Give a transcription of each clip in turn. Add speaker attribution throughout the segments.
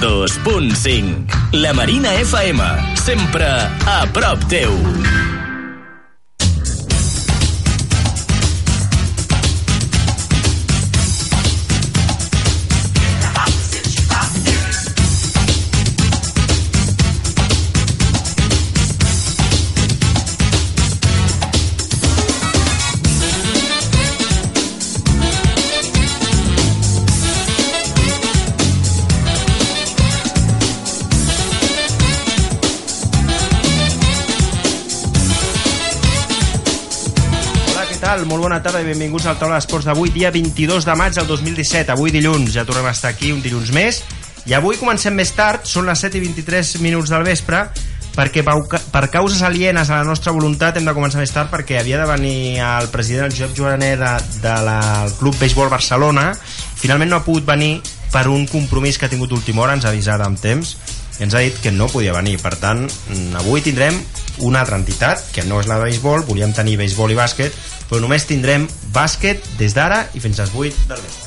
Speaker 1: 102.5. La Marina FM, sempre a prop teu.
Speaker 2: Hola, què tal? Molt bona tarda i benvinguts al Taula d'Esports d'avui, dia 22 de maig del 2017. Avui dilluns, ja tornem a estar aquí un dilluns més. I avui comencem més tard, són les 7 i 23 minuts del vespre, perquè pau- per causes alienes a la nostra voluntat hem de començar més tard perquè havia de venir el president el Josep Joaner de, de la, el Club Béisbol Barcelona finalment no ha pogut venir per un compromís que ha tingut a última hora, ens ha avisat amb temps i ens ha dit que no podia venir per tant, mm, avui tindrem una altra entitat que no és la de béisbol, volíem tenir béisbol i bàsquet, però només tindrem bàsquet des d'ara i fins als 8 del vespre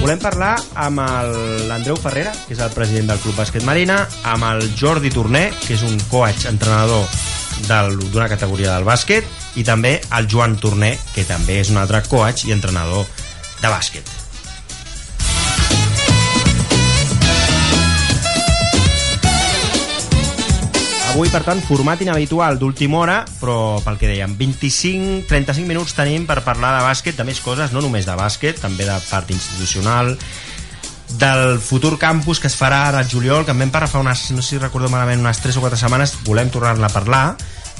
Speaker 2: Volem parlar amb el- l'Andreu Ferrera, que és el president del Club Bàsquet Marina, amb el Jordi Torné, que és un coach entrenador del- d'una categoria del bàsquet, i també el Joan Torné, que també és un altre coach i entrenador de bàsquet. Avui, per tant, format inhabitual d'última hora, però pel que dèiem, 25-35 minuts tenim per parlar de bàsquet, de més coses, no només de bàsquet, també de part institucional, del futur campus que es farà ara al juliol, que en vam parlar fa unes, no sé si recordo malament, unes 3 o 4 setmanes, volem tornar-ne a parlar,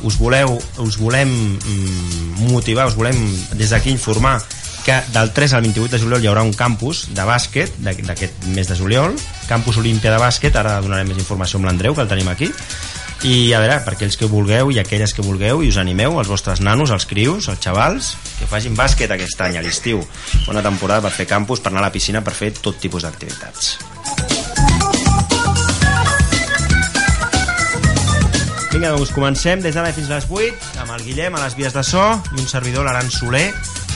Speaker 2: us, voleu, us volem mm, motivar, us volem des d'aquí informar que del 3 al 28 de juliol hi haurà un campus de bàsquet d'aqu- d'aquest mes de juliol, campus Olímpia de bàsquet, ara donarem més informació amb l'Andreu, que el tenim aquí, i a veure, per aquells que vulgueu i aquelles que vulgueu i us animeu, els vostres nanos, els crios, els xavals, que facin bàsquet aquest any a l'estiu. Bona temporada per fer campus, per anar a la piscina, per fer tot tipus d'activitats. Vinga, doncs comencem des d'ara i fins a les 8 amb el Guillem a les vies de so i un servidor, l'Aran Soler.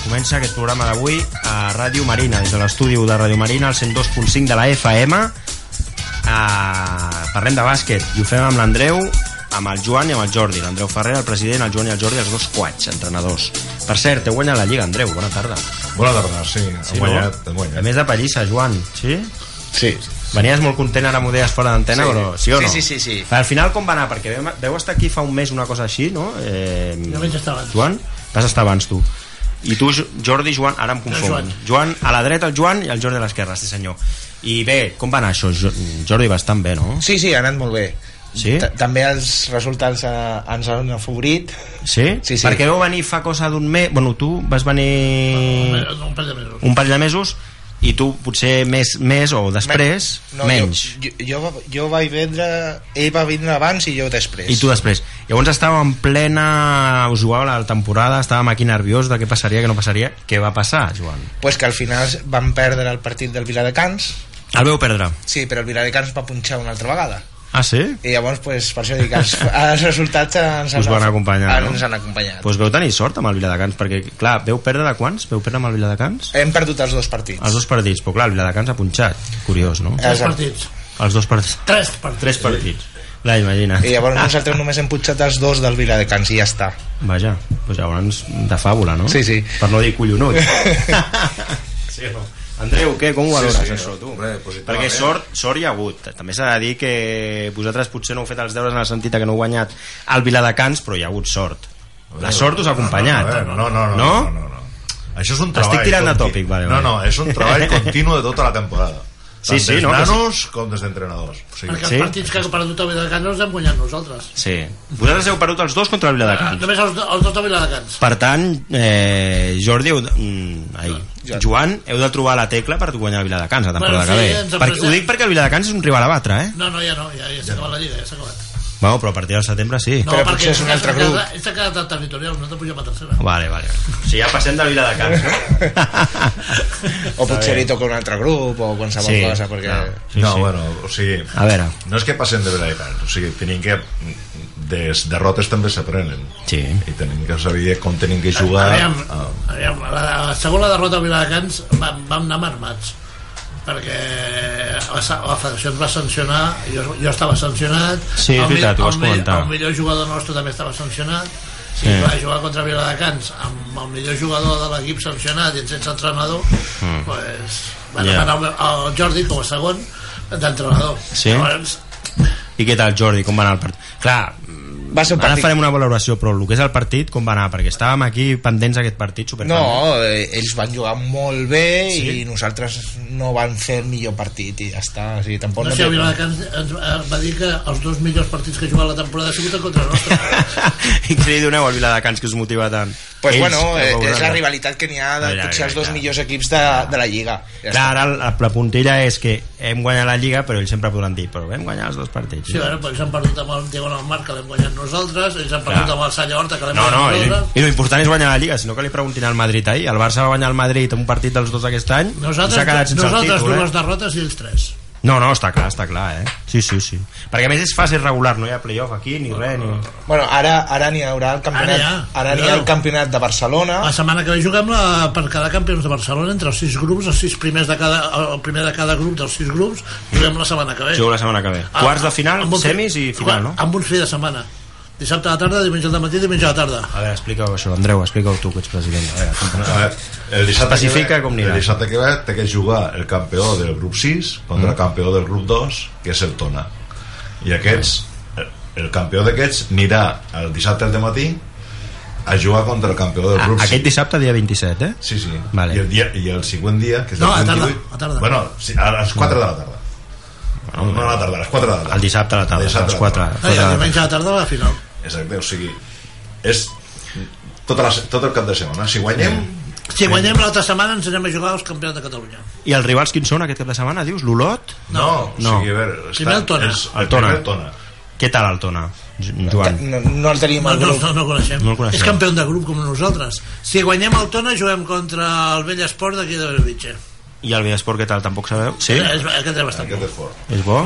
Speaker 2: Comença aquest programa d'avui a Ràdio Marina, des de l'estudi de Ràdio Marina, al 102.5 de la FM. Uh, parlem de bàsquet i ho fem amb l'Andreu, amb el Joan i amb el Jordi. L'Andreu Ferrer, el president, el Joan i el Jordi, els dos coats, entrenadors. Per cert, heu guanyat la Lliga, Andreu. Bona tarda.
Speaker 3: Bona tarda, sí, sí
Speaker 2: no?
Speaker 3: hem guanyat, hem
Speaker 2: A
Speaker 3: guanyat.
Speaker 2: més de pallissa, Joan. Sí?
Speaker 3: Sí.
Speaker 2: Venies molt content, ara m'ho deies fora d'antena,
Speaker 4: Sí.
Speaker 2: però sí o no?
Speaker 4: Sí, sí, sí, sí.
Speaker 2: Al final com va anar? Perquè veu, veu estar aquí fa un mes una cosa així, no? Eh,
Speaker 5: Jo vaig estar abans.
Speaker 2: Joan, vas estar abans tu. I tu, Jo- Jordi, Joan, ara em confon. Joan.
Speaker 5: Joan.
Speaker 2: Joan, a la dreta el Joan i el Jordi a l'esquerra, sí senyor. I bé, com va anar això? Jo- Jordi, bastant bé, no?
Speaker 4: Sí, sí, ha anat molt bé.
Speaker 2: Sí?
Speaker 4: Ta- També els resultats eh, ens han afavorit.
Speaker 2: Sí?
Speaker 4: Sí, sí.
Speaker 2: Perquè veu venir fa cosa d'un mes... Bueno, tu vas venir
Speaker 5: Un parell de mesos.
Speaker 2: un parell de mesos i tu potser més, més o després,
Speaker 4: No,
Speaker 2: menys.
Speaker 4: Jo, jo, jo, jo vaig vendre... Ell va vindre abans i jo després.
Speaker 2: I tu després. Llavors estàvem en plena... Us jugava la temporada, estàvem aquí nerviós de què passaria, què no passaria. Què va passar, Joan?
Speaker 4: Pues que al final van perdre el partit del Viladecans.
Speaker 2: El veu perdre.
Speaker 4: Sí, però el Viladecans va punxar una altra vegada.
Speaker 2: Ah, sí?
Speaker 4: I llavors, pues, per això dic, els, els resultats ens
Speaker 2: Us van acompanyar, no?
Speaker 4: Ens han acompanyat.
Speaker 2: Doncs pues veu tenir sort amb el Viladecans, perquè, clar, veu perdre de quants? Veu perdre amb el Viladecans?
Speaker 4: Hem perdut els dos partits.
Speaker 2: Els dos partits, però clar, el Viladecans ha punxat. Curiós, no?
Speaker 5: Tres
Speaker 4: Exacte.
Speaker 5: partits.
Speaker 2: Els dos partits.
Speaker 5: Eh. Tres partits.
Speaker 2: Tres partits. Clar, Ah. imagina.
Speaker 4: I llavors nosaltres només hem punxat els dos del Viladecans i ja està.
Speaker 2: Vaja, doncs llavors de fàbula, no?
Speaker 4: Sí, sí.
Speaker 2: Per no dir collonut. sí, no. Andreu, què, com ho valores
Speaker 3: sí,
Speaker 2: això, tu?
Speaker 3: hombre, positivament.
Speaker 2: Perquè sort, sort hi ha hagut. També s'ha de dir que vosaltres potser no heu fet els deures en el sentit que no heu guanyat al Viladecans, però hi ha hagut sort. La sort us ha acompanyat.
Speaker 3: No, no, no. no, no, no, no, no. Això és un
Speaker 2: Estic
Speaker 3: treball...
Speaker 2: tirant de
Speaker 3: conti-
Speaker 2: tòpic, vale,
Speaker 3: No,
Speaker 2: vale.
Speaker 3: no, és un treball continu de tota la temporada. Tant
Speaker 2: Sí, sí,
Speaker 3: des
Speaker 2: no, que sí.
Speaker 3: nanos com des d'entrenadors. O sigui,
Speaker 5: Perquè
Speaker 2: Sí?
Speaker 5: els partits que ha perdut el Viladecans no els hem guanyat nosaltres.
Speaker 2: Sí. Vosaltres heu perdut els dos contra el
Speaker 5: Ah,
Speaker 2: Viladecans.
Speaker 5: Només els, do- els dos de Viladecans.
Speaker 2: Per tant, eh, Jordi, heu de, mm, ai, Joan, heu de trobar la tecla per guanyar el Viladecans la
Speaker 5: Bueno,
Speaker 2: temporada
Speaker 5: sí,
Speaker 2: que
Speaker 5: ens
Speaker 2: ve. Perquè, ho
Speaker 5: apretem.
Speaker 2: dic perquè el Viladecans és un rival a batre, eh?
Speaker 5: No, no, ja no, ja, ja s'ha acabat la lliga, ja s'ha acabat.
Speaker 2: Bueno, però a partir del setembre sí.
Speaker 5: No,
Speaker 4: Però
Speaker 5: perquè
Speaker 4: potser és un altre
Speaker 5: s'ha quedat-
Speaker 4: grup.
Speaker 5: S'ha quedat al territorial, nosaltres pugem a tercera.
Speaker 2: Vale, vale. Si ja passem de Vila de Cans, no?
Speaker 4: O potser li toca un altre grup o qualsevol
Speaker 2: Sí,
Speaker 4: cosa, perquè...
Speaker 2: clar.
Speaker 3: no, bueno, o sigui...
Speaker 2: A veure,
Speaker 3: No és que passem de Viladecans, o sigui, tenim que... les derrotes també s'aprenen
Speaker 2: Sí.
Speaker 3: i tenim que saber com tenim que jugar
Speaker 5: Aviam,
Speaker 3: ah,
Speaker 5: aviam, a la, a la segona derrota a Viladecans vam, vam anar amb armats perquè la, sa- la federació ens va sancionar jo, jo estava sancionat
Speaker 2: Sí, és
Speaker 5: el mi-
Speaker 2: veritat, ho
Speaker 5: el
Speaker 2: vas
Speaker 5: mi-
Speaker 2: comentar.
Speaker 5: el millor jugador nostre també estava sancionat
Speaker 2: Sí.
Speaker 5: sí, sí. clar, jugar contra Viladecans amb el millor jugador de l'equip sancionat i sense entrenador mm. pues, van
Speaker 2: Ja.
Speaker 5: yeah. el, el Jordi com a segon d'entrenador
Speaker 2: Sí?
Speaker 5: llavors
Speaker 2: I què tal, Jordi? Com va anar el partit? Clar, mm,
Speaker 4: Va ser un
Speaker 2: ara
Speaker 4: partit-
Speaker 2: farem una valoració, però el que és el partit, com va anar? Perquè estàvem aquí pendents d'aquest partit, super
Speaker 4: No, eh, ells van jugar molt bé sí?
Speaker 2: Sí?
Speaker 4: i nosaltres no van fer el millor partit i ja està, o sigui, tampoc
Speaker 5: no sé, el Viladecans ens eh, va dir que els dos millors partits que ha jugat la temporada ha sigut contra el nostre
Speaker 2: I què li doneu al Viladecans que us motiva tant?
Speaker 4: Pues
Speaker 2: Ells,
Speaker 4: bueno,
Speaker 2: ja
Speaker 4: eh,
Speaker 2: ho
Speaker 4: és
Speaker 2: veuran.
Speaker 4: la rivalitat que n'hi ha de
Speaker 2: Ja, ja,
Speaker 4: potser els dos
Speaker 2: ja.
Speaker 4: millors equips de, de la Lliga. Ja
Speaker 2: Clar,
Speaker 4: està.
Speaker 2: ara la, la puntilla és que hem guanyat la Lliga, però ells sempre podran dir, però vam guanyar els dos partits.
Speaker 5: Sí, bueno, perquè s'han perdut amb el Diagonal Mar, que l'hem guanyat nosaltres, ells han perdut
Speaker 2: Clar.
Speaker 5: amb el Salla Horta, que l'hem
Speaker 2: No, no,
Speaker 5: guanyat
Speaker 2: i,
Speaker 5: nosaltres.
Speaker 2: i lo important és guanyar la Lliga, sinó que li preguntin al Madrid ahir. El Barça va guanyar el Madrid en un partit dels dos aquest any i s'ha quedat
Speaker 5: Nosaltres,
Speaker 2: sense
Speaker 5: nosaltres
Speaker 2: el títol,
Speaker 5: dues derrotes i ells tres.
Speaker 2: eh? No, no, està clar, està clar, eh? Sí, sí, sí. Perquè a més és fase regular, no hi ha playoff aquí ni res, ni...
Speaker 4: Bueno, ara ara n'hi haurà el campionat,
Speaker 5: Ara ja.
Speaker 4: ara n'hi ha el
Speaker 5: Claro.
Speaker 4: campionat de Barcelona.
Speaker 5: La setmana que ve juguem la, per cada campions de Barcelona, entre els sis grups, els sis primers de cada, el primer de cada grup dels sis grups, juguem la setmana que ve.
Speaker 2: Jugo la setmana que ve.
Speaker 5: Ah,
Speaker 2: Quarts de final,
Speaker 5: amb un fi-
Speaker 2: semis i final, no?
Speaker 5: Amb un fi de setmana. Dissabte a la tarda, diumenge al matí, diumenge a la tarda.
Speaker 2: A veure, explica-ho això, Andreu, explica-ho tu, que ets president. A veure, com-
Speaker 3: A veure, Eh, el dissabte,
Speaker 2: Especifica
Speaker 3: que ve,
Speaker 2: com anirà.
Speaker 3: el dissabte que ve té que jugar el campió del grup 6 contra
Speaker 2: Mm.
Speaker 3: el campió del grup 2 que és el Tona i aquests, el, el campió d'aquests anirà el dissabte al matí a jugar contra el campió del
Speaker 2: Ah,
Speaker 3: grup 6
Speaker 2: Aquest dissabte, dia 27, eh?
Speaker 3: Sí, sí.
Speaker 2: Vale.
Speaker 3: I, el dia, I el següent dia, que és
Speaker 5: No,
Speaker 3: el
Speaker 5: a la tarda,
Speaker 3: 28...
Speaker 5: a la tarda.
Speaker 3: Bueno, sí, a les 4 de la tarda.
Speaker 2: Ah,
Speaker 3: No, no a la tarda, a les 4 de la tarda.
Speaker 2: El dissabte a la tarda,
Speaker 3: El
Speaker 2: a
Speaker 3: dissabte
Speaker 2: les
Speaker 3: a la
Speaker 2: 4.
Speaker 3: tarda.
Speaker 5: Ah, i el diumenge a la tarda, la final.
Speaker 3: Exacte, o sigui, és tota la, se- tot el cap de setmana. Si guanyem,
Speaker 5: Si guanyem l'altra setmana, ens anem a jugar als campions de Catalunya.
Speaker 2: I els rivals quins són aquest cap de setmana? Dius, l'Olot?
Speaker 3: no.
Speaker 2: no.
Speaker 3: O sigui, a veure, està,
Speaker 5: Primer el Tona.
Speaker 3: És,
Speaker 2: El Tona.
Speaker 3: primer el Tona.
Speaker 2: Què tal el Tona, Joan?
Speaker 4: No, no el tenim
Speaker 5: No,
Speaker 4: al
Speaker 5: no,
Speaker 4: grup.
Speaker 5: no, no el coneixem.
Speaker 2: No el coneixem.
Speaker 5: És campió de grup com nosaltres. Si guanyem el Tona, juguem contra el vell esport d'aquí de Bellvitge.
Speaker 2: I el Vidasport, què tal? Tampoc sabeu? Sí?
Speaker 5: Eh, és- Aquest és bastant
Speaker 3: Aquest
Speaker 5: bo.
Speaker 3: és fort.
Speaker 2: És bo?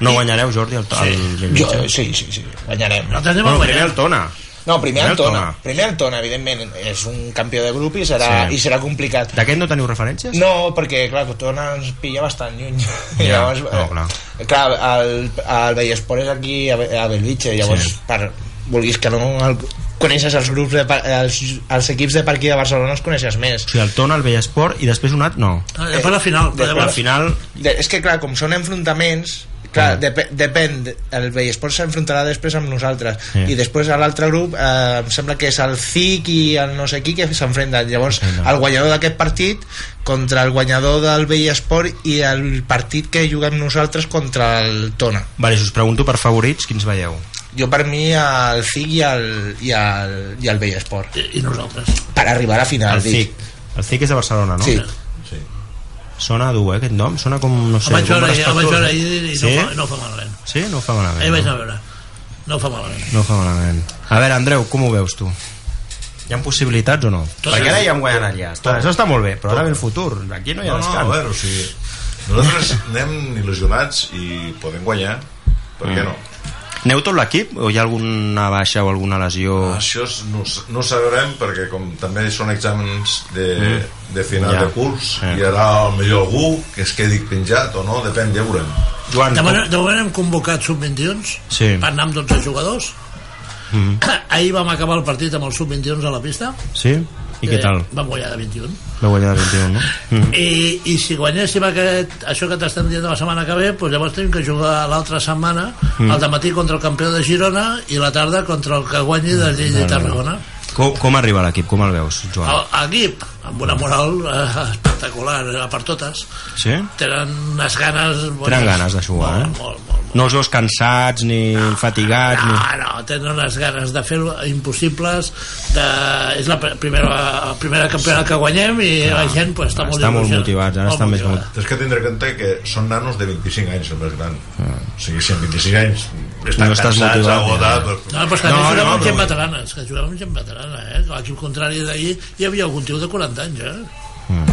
Speaker 2: No guanyareu, Jordi, el, el, el
Speaker 4: Jo, sí, sí, sí, guanyarem.
Speaker 5: Nosaltres anem a
Speaker 2: Bueno, primer
Speaker 5: guanyar.
Speaker 2: el Tona.
Speaker 4: No, primer el
Speaker 2: Primer el
Speaker 4: Tona.
Speaker 2: Tona.
Speaker 4: Primer el Tona, evidentment, és un campió de grup i serà,
Speaker 2: Sí.
Speaker 4: i serà complicat.
Speaker 2: D'aquest no teniu referències?
Speaker 4: No, perquè, clar, Cotona ens pilla bastant lluny. I
Speaker 2: Ja,
Speaker 4: llavors,
Speaker 2: no, clar.
Speaker 4: eh, clar, el, el Bellesport és aquí a, Be- a Belvitge, llavors,
Speaker 2: Sí.
Speaker 4: sí. per, vulguis que no el, coneixes els grups de, pa- els, els equips de per aquí de Barcelona els coneixes més
Speaker 2: O sigui, el Tona, el Bellesport i després un altre... No.
Speaker 5: Eh, Per la final.
Speaker 4: Eh,
Speaker 5: Per
Speaker 2: Al
Speaker 5: llavors,
Speaker 2: final...
Speaker 4: de, és que clar, com són enfrontaments clar, dep depèn el Bellesport s'enfrontarà després amb nosaltres
Speaker 2: Sí.
Speaker 4: i després a l'altre grup eh, em sembla que és el CIC i el no sé qui que s'enfronten llavors
Speaker 2: Enfronten.
Speaker 4: el guanyador d'aquest partit contra el guanyador del Bellesport i el partit que juguem nosaltres contra el Tona
Speaker 2: Vale, si us pregunto per favorits, quins veieu?
Speaker 4: jo per mi el CIC i el, i el, i el Bellesport
Speaker 5: I- i nosaltres.
Speaker 4: per arribar a la final
Speaker 2: El
Speaker 4: dic.
Speaker 2: CIC. El CIC és de Barcelona, no?
Speaker 4: sí.
Speaker 3: Sí.
Speaker 2: Sona dur, eh, aquest nom? Sona com, no sé,
Speaker 5: Em vaig
Speaker 2: com
Speaker 5: veure ahir- em vaig veure
Speaker 2: respectuós, eh?
Speaker 5: ahir i no
Speaker 2: Sí?
Speaker 5: fa- no fa malament.
Speaker 2: eh? Sí? No ho fa malament.
Speaker 5: Ahir vaig
Speaker 2: no?
Speaker 5: anar a veure. No fa malament.
Speaker 2: No fa malament. A veure, Andreu, com ho veus tu? Hi ha possibilitats o no?
Speaker 5: Tot
Speaker 2: Perquè
Speaker 5: sí.
Speaker 2: ara ja hem guanyat allà. Està, això està molt bé, però ara ve el futur. Aquí no hi ha
Speaker 3: No, no, a
Speaker 2: descans.
Speaker 3: veure, o sigui, nosaltres anem il·lusionats i podem guanyar. Per
Speaker 2: Mm.
Speaker 3: què no?
Speaker 2: Aneu tot l'equip o hi ha alguna baixa o alguna lesió?
Speaker 3: Això és, no, ho s- no ho sabrem perquè com també són exàmens de, de final
Speaker 2: Mm. Ja.
Speaker 3: de curs
Speaker 2: Sí.
Speaker 3: hi haurà el millor algú que es quedi penjat o no, depèn, ja veurem.
Speaker 2: Joan,
Speaker 5: De
Speaker 2: com...
Speaker 5: moment, de moment hem convocat sub-21s
Speaker 2: Sí. Mm.
Speaker 5: per anar amb 12 jugadors. Ahir vam acabar el partit amb els sub-21s a la pista.
Speaker 2: sí? I què
Speaker 5: Eh,
Speaker 2: tal?
Speaker 5: Vam guanyar de 21.
Speaker 2: Vau guanyar de 21, no? Mm.
Speaker 5: I, i si guanyéssim aquest, això que t'estem dient de la setmana que ve doncs llavors tenim que jugar l'altra setmana
Speaker 2: Mhm.
Speaker 5: mm. al matí contra el campió de Girona i la tarda contra el que guanyi de Lleida i Tarragona
Speaker 2: Com, com arriba l'equip? Com el veus, Joan?
Speaker 5: El- l'equip amb una moral eh, espectacular eh, per totes
Speaker 2: Sí?
Speaker 5: tenen unes ganes bones.
Speaker 2: Tenen ganes de jugar, eh?
Speaker 5: molt, molt, molt,
Speaker 2: No us veus cansats ni fatigats?
Speaker 5: No,
Speaker 2: Ni...
Speaker 5: no, tenen unes ganes de fer impossibles de... és la pr- primera, el primer campionat que guanyem i la gent pues, està, molt
Speaker 2: Està molt
Speaker 5: il·lusionada,
Speaker 2: motivats, ara estan més
Speaker 5: motivada.
Speaker 2: mot-
Speaker 3: Tens que tindre en compte que són nanos de 25 anys, el més gran. O sigui, si amb 25 anys estan
Speaker 2: Mm. No
Speaker 3: no
Speaker 2: estàs
Speaker 3: cansats, doncs,
Speaker 2: motivat,
Speaker 3: agotats...
Speaker 5: No,
Speaker 3: Ja.
Speaker 5: però és que a
Speaker 2: No,
Speaker 5: més
Speaker 2: no,
Speaker 5: jugàvem amb
Speaker 2: però
Speaker 5: gent
Speaker 2: bé.
Speaker 5: veterana, és que jugàvem amb gent veterana, eh? A l'equip contrari d'ahir hi havia algun tio de 40 anys, eh? Mm.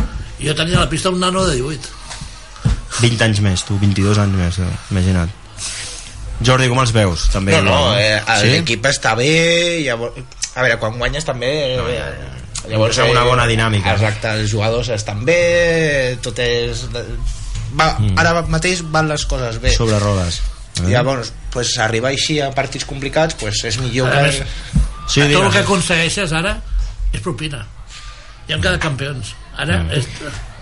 Speaker 5: Jo tenia a la pista un nano de 18.
Speaker 2: 20 anys més, tu, 22 anys més, eh? imagina't. Jordi, com els veus? També,
Speaker 4: No, no, eh,
Speaker 2: sí?
Speaker 4: l'equip està bé, llavors, a veure, quan guanyes també... Eh, llavors, eh,
Speaker 2: és una bona dinàmica.
Speaker 4: Exacte, els jugadors estan bé, tot és... eh, Va, mm. Ara mateix van les coses bé. Eh?
Speaker 2: Sobre rodes.
Speaker 4: Llavors, pues, arribar així a partits complicats pues, és millor
Speaker 6: Eh,
Speaker 5: A
Speaker 4: que...
Speaker 5: veure,
Speaker 2: Sí,
Speaker 5: tot el
Speaker 2: digues.
Speaker 5: que aconsegueixes ara és propina i hem quedat campions ara
Speaker 2: Mm.
Speaker 5: és...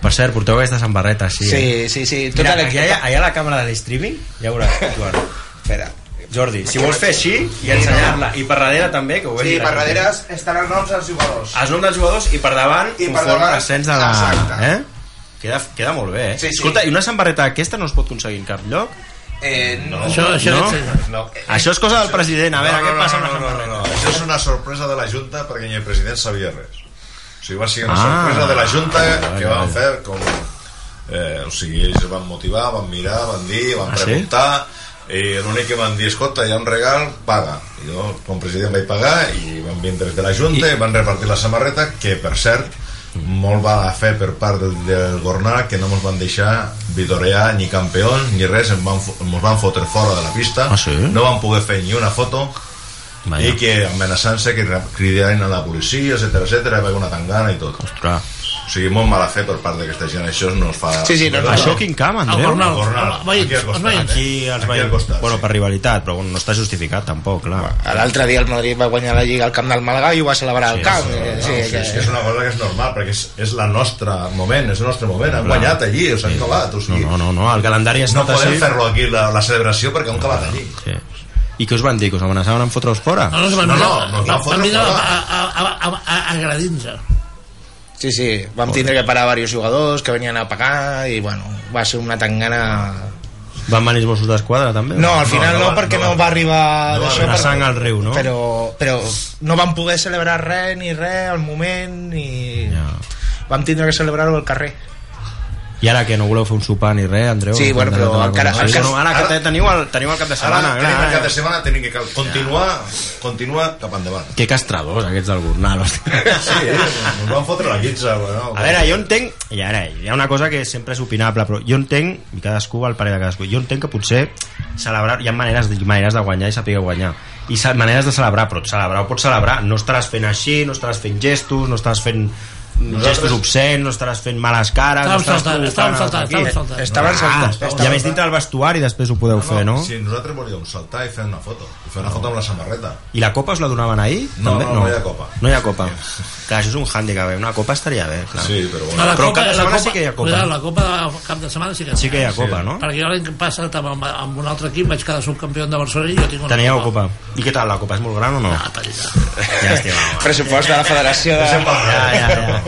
Speaker 2: Per cert, porteu aquestes samarretes, sí. eh?
Speaker 4: Sí, Tota sí, sí. Tot
Speaker 2: Mira,
Speaker 4: l'equip-
Speaker 2: allà, allà, allà a la càmera de l'streaming, ja veuràs, Joan.
Speaker 4: Espera.
Speaker 2: Jordi, si vols fer així i ensenyar-la, i per darrere també, que ho
Speaker 6: Sí,
Speaker 2: vegi la
Speaker 6: per
Speaker 2: gent.
Speaker 6: darrere estan els noms dels jugadors.
Speaker 2: Els noms dels jugadors i per davant
Speaker 6: I per
Speaker 2: conforme
Speaker 6: davant,
Speaker 2: l'ascens de la...
Speaker 6: exacte.
Speaker 2: Eh? Queda, queda molt bé, eh?
Speaker 6: Sí, sí.
Speaker 2: Escolta, i una samarreta aquesta no es pot aconseguir en cap lloc?
Speaker 6: Eh, no.
Speaker 5: això, això
Speaker 2: No?
Speaker 5: és...
Speaker 3: No.
Speaker 2: Això és cosa del president, a veure, què passa amb la
Speaker 3: no,
Speaker 2: samarreta?
Speaker 3: no, no, Això és una sorpresa de la Junta perquè ni el president sabia res. O sigui, va ser una
Speaker 2: Ah.
Speaker 3: sorpresa de la Junta que
Speaker 2: vale.
Speaker 3: van fer com... Eh, o sigui, ells van motivar, van mirar, van dir, van
Speaker 2: Ah, sí?
Speaker 3: preguntar i l'únic que van dir, escolta, hi ha un regal, paga. I jo, com president, vaig pagar i van vindre des de la Junta i, van repartir la samarreta, que, per cert, molt va fer per part del, del Gornal que no ens van deixar vitorear ni campions ni res, ens van, fo- ens van fotre fora de la pista
Speaker 2: Ah, sí?
Speaker 3: no van poder fer ni una foto
Speaker 2: Vaja.
Speaker 3: i que amenaçant-se que cridaran a la policia, etc etc, va haver una tangana i tot.
Speaker 2: Ostres.
Speaker 3: O sigui, molt mala fe per part d'aquesta gent, això no es fa...
Speaker 4: Sí, sí, no, no.
Speaker 2: Això quin camp,
Speaker 5: el
Speaker 2: Andreu?
Speaker 5: Gornal,
Speaker 3: Gornal,
Speaker 5: els
Speaker 3: aquí
Speaker 5: veïns,
Speaker 3: al
Speaker 5: els
Speaker 3: costat. eh?
Speaker 5: veïns
Speaker 2: Aquí els
Speaker 3: Aquí al
Speaker 2: veïns...
Speaker 3: costat,
Speaker 2: bueno,
Speaker 3: sí.
Speaker 2: per rivalitat, però bueno, no està justificat tampoc, clar.
Speaker 4: L'altre dia el Madrid va guanyar la Lliga al camp del Màlaga i ho va celebrar al camp. eh,
Speaker 3: No,
Speaker 4: Sí,
Speaker 3: sí,
Speaker 4: que-
Speaker 3: és, que és una cosa que és normal, perquè és, és la nostra moment, és el nostre moment, han guanyat allí, us han calat, o
Speaker 2: No,
Speaker 3: sigui,
Speaker 2: no, no, no, el calendari ha
Speaker 3: no
Speaker 2: estat
Speaker 3: podem
Speaker 2: així.
Speaker 3: fer-lo aquí, la, la celebració, perquè han calat allí.
Speaker 2: Sí. I què us van dir? Que us amenaçaven amb fotre-us fora?
Speaker 5: no, no, no,
Speaker 3: No, no,
Speaker 5: no,
Speaker 3: no,
Speaker 5: no,
Speaker 3: no, fotre
Speaker 5: no,
Speaker 3: fora.
Speaker 5: agradint-se
Speaker 2: Ah,
Speaker 4: Sí, sí, vam tindre que parar diversos jugadors que venien a pagar i bueno, va ser una tangana...
Speaker 2: Van venir els Mossos d'Esquadra, també?
Speaker 4: No, al final
Speaker 3: no
Speaker 4: no,
Speaker 3: va-
Speaker 4: perquè
Speaker 3: no
Speaker 4: no,
Speaker 3: va-
Speaker 4: va arribar...
Speaker 3: no va
Speaker 4: d'això
Speaker 3: arribar.
Speaker 2: La
Speaker 4: perquè-
Speaker 2: sang al riu, no?
Speaker 4: Però, però no vam poder celebrar res ni res al moment ni...
Speaker 2: Ja.
Speaker 4: Vam tindre que celebrar-ho al carrer.
Speaker 2: I ara que no voleu fer un sopar ni res, Andreu?
Speaker 4: Sí, bueno, però
Speaker 2: Andreu,
Speaker 4: encara-
Speaker 2: Sí,
Speaker 4: encara-
Speaker 2: bueno, ara que
Speaker 3: ara-
Speaker 2: teniu el, teniu el cap de
Speaker 3: Ara,
Speaker 2: setmana. eh?
Speaker 3: tenim el
Speaker 2: clar,
Speaker 3: cap de setmana, tenim que cal- continuar, continuar cap endavant.
Speaker 2: Que castradors, aquests del Gornal. hòstia.
Speaker 3: Sí, eh? Ens van fotre la guitza, bueno.
Speaker 2: A veure, jo entenc... I ara, hi ha una cosa que sempre és opinable, però jo entenc, i cadascú va al parer de cadascú, jo entenc que potser celebrar... Hi ha maneres, de- maneres de guanyar i saber guanyar. I sa- maneres de celebrar, però celebrar ho pots celebrar. No estaràs fent així, no estaràs fent gestos, no estaràs fent Nosaltres... gestos obscens, no estaràs fent males cares...
Speaker 5: estàvem
Speaker 2: no ah, estaràs provocant els
Speaker 5: saltant, estàvem saltant,
Speaker 2: d'aquí.
Speaker 5: estàvem saltant
Speaker 4: Estaven
Speaker 2: Ah,
Speaker 4: saltant.
Speaker 2: ja més dintre del vestuari després ho podeu fer, no?
Speaker 3: Si nosaltres volíem saltar i fer una foto, i fer una foto amb la samarreta.
Speaker 2: I la copa us la donaven ahir?
Speaker 3: No,
Speaker 2: també?
Speaker 3: no, no hi ha copa.
Speaker 2: No hi ha copa. Clar, això és un hàndicap, eh? una copa estaria bé, clar.
Speaker 3: Sí, però bueno.
Speaker 5: No, la
Speaker 2: Però
Speaker 5: copa,
Speaker 2: cap de
Speaker 5: la
Speaker 2: setmana
Speaker 5: copa,
Speaker 2: sí que hi ha copa.
Speaker 5: Cuidado, la copa de cap de setmana sí que,
Speaker 2: Sí que hi ha copa,
Speaker 3: Sí.
Speaker 2: no?
Speaker 5: Perquè jo l'any passat amb, amb un altre equip vaig quedar subcampió de Barcelona i jo tinc una
Speaker 2: Teníeu copa. I què tal, la copa és molt gran o no?
Speaker 5: Ah, petita.
Speaker 2: Llàstima, home.
Speaker 4: Pressupost de la federació de...
Speaker 2: Ja, ja, ja.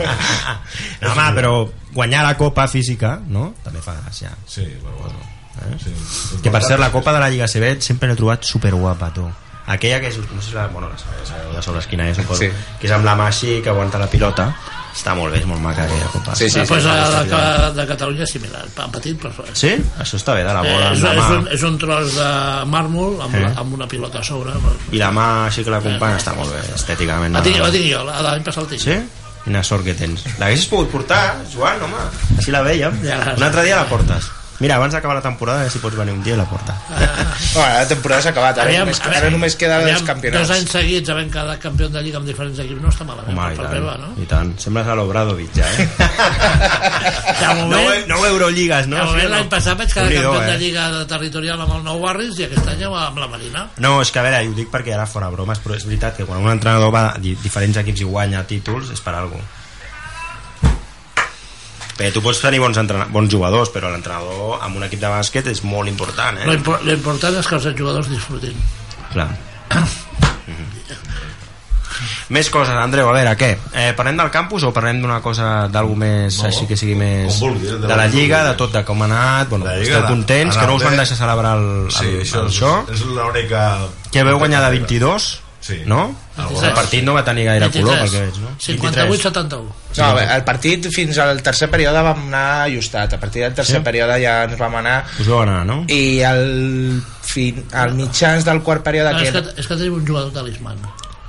Speaker 2: No, home, però guanyar la copa física, no? També fa gràcia.
Speaker 3: Sí, però bueno. Eh? Sí.
Speaker 2: Que per ser la copa de la Lliga CB sempre l'he trobat superguapa, tu. Aquella que és, no sé si la, bueno, la sabeu, sabeu de sobres quina és, suposo,
Speaker 4: Sí.
Speaker 2: que és amb la mà així, que aguanta la pilota. Està molt bé, és molt maca aquella copa.
Speaker 4: Sí, sí, sí.
Speaker 5: Després la, la, de Catalunya és similar, pa- petit, però...
Speaker 2: Sí? Això està bé, de la
Speaker 5: Eh,
Speaker 2: bola
Speaker 5: és,
Speaker 2: amb la
Speaker 5: és, un,
Speaker 2: mà.
Speaker 5: és un tros de màrmol amb,
Speaker 2: Eh?
Speaker 5: la, amb una pilota a sobre.
Speaker 2: I la mà així que l'acompanya està molt bé, estèticament.
Speaker 5: La tinc, la tinc jo, la de l'any passat la tinc.
Speaker 2: Sí? Quina sort que tens. L'haguessis pogut portar, Joan, home. Així la vèiem.
Speaker 5: Ja.
Speaker 2: Un altre dia la portes. Mira, abans d'acabar la temporada, a veure si pots venir un dia i la porta.
Speaker 5: Ah,
Speaker 4: Bueno, la temporada s'ha acabat, ara,
Speaker 5: Aviam,
Speaker 4: només,
Speaker 5: a
Speaker 4: ara
Speaker 5: veure,
Speaker 4: només queda
Speaker 5: aviam,
Speaker 4: els campionats.
Speaker 5: Dos anys seguits havent quedat campió de Lliga amb diferents equips no està malament.
Speaker 2: Home, i
Speaker 5: per
Speaker 2: tant,
Speaker 5: Peba, no?
Speaker 2: i tant. Sembles a l'Obradovic, ja, eh?
Speaker 5: De moment,
Speaker 2: nou, E- nou Euroligues, no?
Speaker 5: de moment
Speaker 2: Sí o no?
Speaker 5: l'any passat vaig quedar
Speaker 2: Déu-n'hi-do,
Speaker 5: campió de
Speaker 2: eh?
Speaker 5: Lliga de territorial amb el Nou Barris i aquest any amb la Marina.
Speaker 2: No, és que a veure, i ho dic perquè ara fora bromes, però és veritat que quan un entrenador va a di- diferents equips i guanya títols és per alguna cosa. Bé, tu pots tenir bons, entrena- bons jugadors, però l'entrenador amb un equip de bàsquet és molt important, eh?
Speaker 5: Lo impor- lo important és que els jugadors disfrutin.
Speaker 2: Clar. Mhm. Més coses, Andreu, a veure, què? Eh, parlem del campus o parlem d'una cosa, d'algú més,
Speaker 3: No,
Speaker 2: així que sigui més...
Speaker 3: com vulguis, eh, de
Speaker 2: de la
Speaker 3: la-
Speaker 2: Lliga, de tot, de com ha anat, bueno,
Speaker 3: La Lliga,
Speaker 2: esteu contents,
Speaker 3: ha
Speaker 2: que no us
Speaker 3: anat
Speaker 2: van
Speaker 3: bé.
Speaker 2: deixar celebrar el,
Speaker 3: Sí,
Speaker 2: el,
Speaker 3: això,
Speaker 2: el
Speaker 3: és,
Speaker 2: això.
Speaker 3: és l'única...
Speaker 2: Que veu guanyar de 22,
Speaker 3: Sí.
Speaker 2: no?
Speaker 4: Ah,
Speaker 5: Alguna
Speaker 2: El partit no va tenir gaire color, pel que veig, no?
Speaker 5: 58-71.
Speaker 4: No, a veure, el partit fins al tercer període vam anar ajustat. A partir del tercer
Speaker 2: Sí?
Speaker 4: període ja ens vam anar
Speaker 2: Us veu anar, no?
Speaker 4: i al, fin, al mitjans del quart període
Speaker 5: No, és,
Speaker 4: que...
Speaker 5: que, és que tenim un jugador talisman.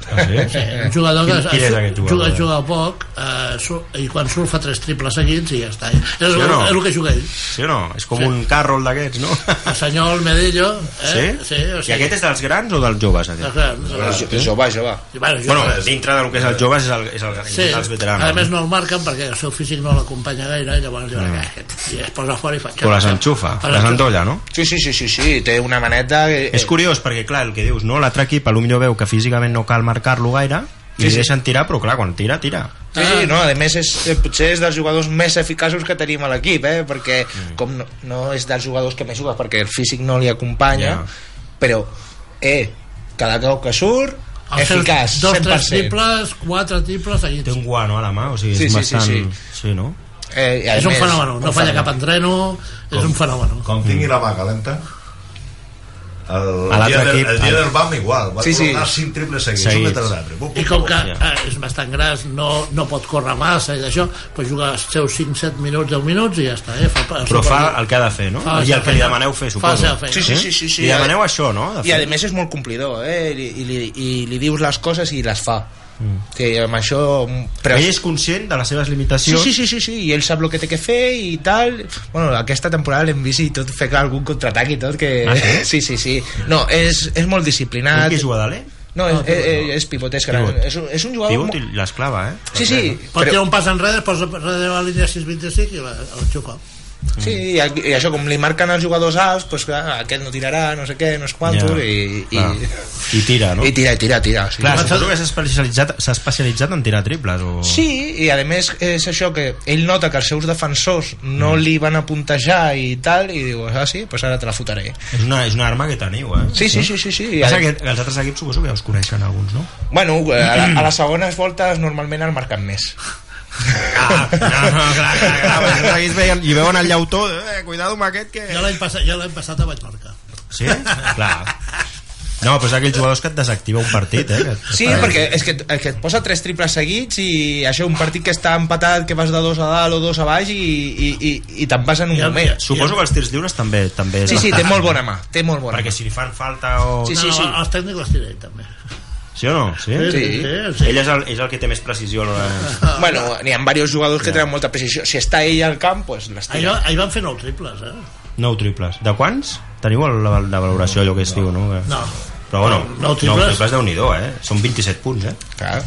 Speaker 2: Ah, sí?
Speaker 5: Un jugador que
Speaker 2: Qui- qui és aquest jugador?
Speaker 5: juga, juga poc eh, surt, i quan surt fa tres triples seguits i ja està. És, el,
Speaker 2: o no?
Speaker 5: és el que juga ell.
Speaker 2: Sí o no? És com un carroll d'aquests, no?
Speaker 5: El senyor Medillo... Eh?
Speaker 2: Sí?
Speaker 5: sí o
Speaker 2: I aquest és dels grans o dels joves? Aquest?
Speaker 5: Bueno,
Speaker 4: Jove, jove.
Speaker 5: jo,
Speaker 2: Bueno, dintre del que és els joves és el, és el,
Speaker 5: Sí,
Speaker 2: dels veteranos.
Speaker 5: a més no el marquen perquè el seu físic no l'acompanya gaire i llavors diuen mm. aquest i es posa fora i fa
Speaker 2: Però les enxufa,
Speaker 5: Les
Speaker 2: les
Speaker 5: enxufa.
Speaker 2: endolla, no?
Speaker 4: Sí, sí, sí, sí, sí, té una maneta... Eh,
Speaker 2: És curiós, perquè clar, el que dius, no? L'altre equip potser veu que físicament no cal marcar-lo gaire i
Speaker 4: Sí,
Speaker 2: li
Speaker 4: sí.
Speaker 2: deixen tirar, però clar, quan tira, tira.
Speaker 4: Sí, sí, no,
Speaker 5: Ah.
Speaker 4: a més és, eh, potser és dels jugadors més eficaços que tenim a l'equip, eh? perquè
Speaker 2: Mm.
Speaker 4: com no, no és dels jugadors que més juga perquè el físic no li acompanya,
Speaker 2: Ja.
Speaker 4: però, eh, cada cop que surt,
Speaker 5: Els seus
Speaker 4: eficaç,
Speaker 5: dos, tres
Speaker 4: 100%.
Speaker 5: triples, quatre triples seguits.
Speaker 2: Té un guano a la mà, o sigui, és
Speaker 4: Sí, sí, sí,
Speaker 2: bastant...
Speaker 4: sí.
Speaker 2: sí, no?
Speaker 4: Eh, i a
Speaker 5: És un
Speaker 4: més,
Speaker 5: fenomen, no
Speaker 4: un
Speaker 5: falla
Speaker 4: fenomen.
Speaker 5: cap entreno, és un fenomen.
Speaker 3: Com
Speaker 2: Mm.
Speaker 3: tingui la mà calenta el,
Speaker 2: A
Speaker 3: el,
Speaker 2: l'altre
Speaker 3: dia, del,
Speaker 2: equip,
Speaker 3: el dia
Speaker 2: el-
Speaker 3: del BAM igual va sí,
Speaker 4: Sí, sí.
Speaker 3: sí. tornar 5 triples seguits,
Speaker 2: Seguits.
Speaker 3: un metre d'arbre Bum,
Speaker 5: I
Speaker 3: bum,
Speaker 5: com
Speaker 3: bum.
Speaker 5: que eh, és bastant gras, no, no pot córrer massa i d'això, doncs juga els seus 5-7 minuts, 10 minuts i ja està. Eh? Fa, el
Speaker 2: Però
Speaker 5: seu
Speaker 2: fa
Speaker 5: partit.
Speaker 2: el que ha de fer, no?
Speaker 5: Fa la
Speaker 2: I el
Speaker 5: seva
Speaker 2: que li
Speaker 5: feina.
Speaker 2: demaneu fer,
Speaker 5: Fa
Speaker 2: suposo.
Speaker 5: la seva feina.
Speaker 4: Sí, sí, sí, sí, sí.
Speaker 2: Li demaneu això, no? De
Speaker 4: I a
Speaker 2: fet.
Speaker 4: més és molt complidor, eh? I, i, li, i li dius les coses i les fa. Mm. Que amb això... Però...
Speaker 2: Ell és conscient de les seves
Speaker 4: Sí,
Speaker 2: limitacions
Speaker 4: sí, sí, sí, sí, i ell sap el que té que fer i tal. Bueno, aquesta temporada l'hem vist i tot fer algun contraatac i tot que...
Speaker 2: Ah, sí?
Speaker 4: sí, sí, sí. No, és, és molt
Speaker 2: Ell
Speaker 4: disciplinat.
Speaker 2: que juga de l'E?
Speaker 4: No, és, és, és pivot, és gran.
Speaker 2: Pivot.
Speaker 4: És, un, és un jugador...
Speaker 2: Pivot i
Speaker 4: molt-
Speaker 2: l'esclava, eh?
Speaker 4: Sí, sí,
Speaker 5: Pot tirar
Speaker 4: però,
Speaker 5: un pas enrere, es posa darrere la línia 6-25 i la, el xupa.
Speaker 4: sí, i, i això, com li marquen els jugadors alts, doncs clar, aquest no tirarà, no sé què, no sé quantos, i, i,
Speaker 2: clar. I tira, no?
Speaker 4: i tira, i tira, tira. Sí.
Speaker 2: Clar, suposo que s'ha especialitzat, s'ha especialitzat en tirar triples o...
Speaker 4: Sí, i a més és això que ell nota que els seus defensors
Speaker 2: Mm.
Speaker 4: no li van a puntejar i tal, i diu, ah sí, doncs ara te la fotaré.
Speaker 2: És una, és una arma que teniu, eh?
Speaker 4: Sí, sí, sí, sí, sí. I a-
Speaker 2: Passa que els altres equips suposo que ja us coneixen alguns, no?
Speaker 4: Bueno, a, la, a les segones voltes normalment el marquen més.
Speaker 2: Ah, no, no, clar, clar, clar, perquè els equips veien, i veuen el llautó, eh, cuidado amb aquest que...
Speaker 5: Jo l'any passat, jo l'any passat a Vallmarca.
Speaker 2: Sí? Clar. No, però és aquells jugadors que et desactiva un partit, eh? Que-
Speaker 4: Sí,
Speaker 2: que-
Speaker 4: perquè és que, el que et posa tres triples seguits i això, un partit que està empatat, que vas de dos a dalt o dos a baix i, i, i, i te'n vas en un
Speaker 5: Ja-
Speaker 4: moment.
Speaker 2: Suposo que els tirs lliures també... també és
Speaker 4: Sí, sí, té
Speaker 2: bastant,
Speaker 4: molt bona mà, té molt bona
Speaker 2: Perquè
Speaker 4: mà.
Speaker 2: si li fan falta o...
Speaker 4: Sí,
Speaker 5: Sí,
Speaker 4: sí,
Speaker 5: sí,
Speaker 4: sí.
Speaker 5: No, no, els tècnics les tira ell, també.
Speaker 2: Sí o no? Sí?
Speaker 4: Sí.
Speaker 5: sí.
Speaker 2: Ell és el, és el que té més precisió a l'hora... de-
Speaker 4: Bueno, n'hi ha diversos jugadors que tenen molta precisió. Si està ell al camp, doncs pues
Speaker 5: Ahir,
Speaker 4: l'estira.
Speaker 5: va- ahir van fer nou triples, eh?
Speaker 2: Nou triples. De quants? Teniu el, la, la valoració, allò que es diu, no? Que-
Speaker 5: No.
Speaker 2: Però bueno,
Speaker 5: Nou triples.
Speaker 2: déu nhi eh? Són 27 punts, eh?
Speaker 4: Clar.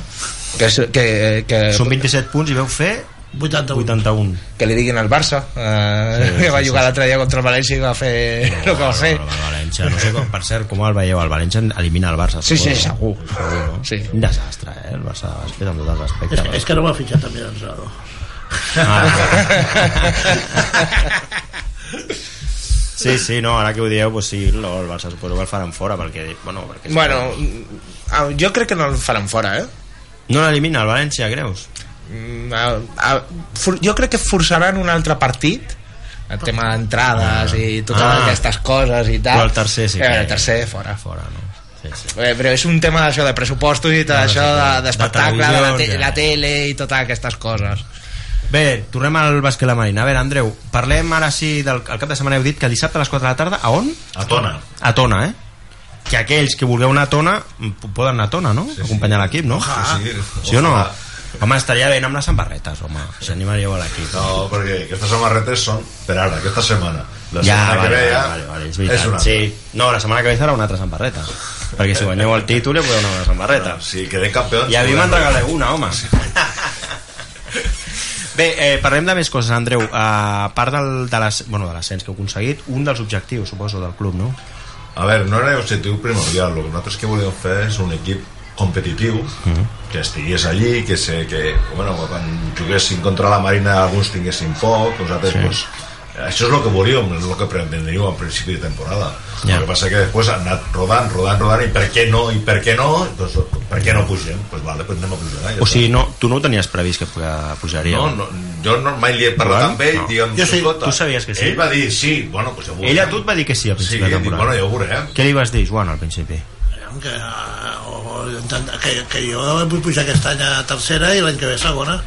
Speaker 4: Que, és- que, que,
Speaker 2: Són 27 punts i veu fer
Speaker 5: 81.
Speaker 2: 81.
Speaker 4: que li diguin al Barça eh,
Speaker 2: Sí,
Speaker 4: que va
Speaker 2: sí,
Speaker 4: jugar l'altre dia contra el València i va fer el que va fer
Speaker 2: El València, no sé com, per cert, com el veieu, el València elimina el Barça.
Speaker 4: sí, sí,
Speaker 2: suposo.
Speaker 4: segur
Speaker 2: Segur, no?
Speaker 4: sí.
Speaker 2: Un desastre, eh? El Barça de bàsquet, amb tot el
Speaker 5: És,
Speaker 2: respecte.
Speaker 5: que, és que no m'ha fitxat també d'ençador.
Speaker 2: Ah, sí, sí, no, ara que ho dieu, doncs sí, no, el Barça suposo que el faran fora, perquè, bueno, perquè
Speaker 4: bueno, ah, jo crec que no el faran fora eh?
Speaker 2: No l'elimina el València, creus?
Speaker 4: Mm, a, a, for, jo crec que forçaran un altre partit el tema d'entrades i totes
Speaker 2: Ah.
Speaker 4: ah. aquestes coses i tal
Speaker 2: Però el tercer sí que-
Speaker 4: eh, el tercer fora
Speaker 2: Fora, no? Sí, sí.
Speaker 4: Eh, però és un tema d'això de pressupostos i tot això de- d'espectacle, de, la, te
Speaker 2: televisió, ja.
Speaker 4: la tele i totes aquestes coses
Speaker 2: Bé, tornem al bàsquet a la marina. A veure, Andreu, parlem ara sí del el cap de setmana. Heu dit que dissabte a les 4 de la tarda, a on?
Speaker 3: a tona
Speaker 2: A Tona, eh? Que aquells que vulgueu anar a Tona, p- poden anar a Tona, no? Sí, Acompanyar l'equip, no?
Speaker 3: Sí, sí.
Speaker 2: sí o no?
Speaker 3: Ojalà.
Speaker 2: Home, estaria bé anar amb les samarretes, home. Si animaríeu a l'equip.
Speaker 3: no, perquè aquestes samarretes són per ara, aquesta setmana la
Speaker 2: ja,
Speaker 3: setmana
Speaker 2: vale,
Speaker 3: que ve
Speaker 2: vale,
Speaker 3: ja
Speaker 2: vale, vale, és veritat.
Speaker 3: és una
Speaker 2: sí. No, la setmana que ve serà una altra sambarreta. perquè si guanyeu el títol ja podeu anar a una sambarreta.
Speaker 3: altra. si quedem campions
Speaker 2: I a mi
Speaker 3: podem-
Speaker 2: me'n regaleu una, home. Bé, eh, parlem de més coses, Andreu. Eh, a part del, de l'ascens bueno, de l'ascens que heu aconseguit, un dels objectius, suposo, del club, no?
Speaker 3: A veure, no era l'objectiu primordial, el que nosaltres que volíem fer és un equip competitiu, que estigués allí, que, se, que bueno, quan juguessin contra la Marina alguns tinguessin poc, nosaltres sí. pues, això és el que volíem, és el que pretendríem al principi de temporada.
Speaker 2: Ja.
Speaker 3: El que passa que després ha anat rodant, rodant, rodant, i per què no, i per què no, doncs, per què no pugem? Doncs pues vale, pues anem a pujar.
Speaker 2: O
Speaker 3: Ja està.
Speaker 2: sigui, no, tu no ho tenies previst que pu- pujaria.
Speaker 3: no, no, jo no, mai li he parlat
Speaker 2: Joan?
Speaker 3: amb ell,
Speaker 2: No.
Speaker 3: diguem,
Speaker 2: Jo sí,
Speaker 3: "Escolta".
Speaker 2: tu sabies que sí.
Speaker 3: Ell va dir, sí, bueno, pues ja ho
Speaker 2: Ella
Speaker 3: veurem.
Speaker 2: a tu et va dir que sí al
Speaker 3: Sí,
Speaker 2: principi de
Speaker 3: dic,
Speaker 2: temporada.
Speaker 3: bueno, ja ho veurem.
Speaker 2: Què li vas dir, Joan, al principi?
Speaker 5: Aviam, Que, eh, o, o intent- que, que jo vull pujar aquest any a tercera i l'any que ve a segona.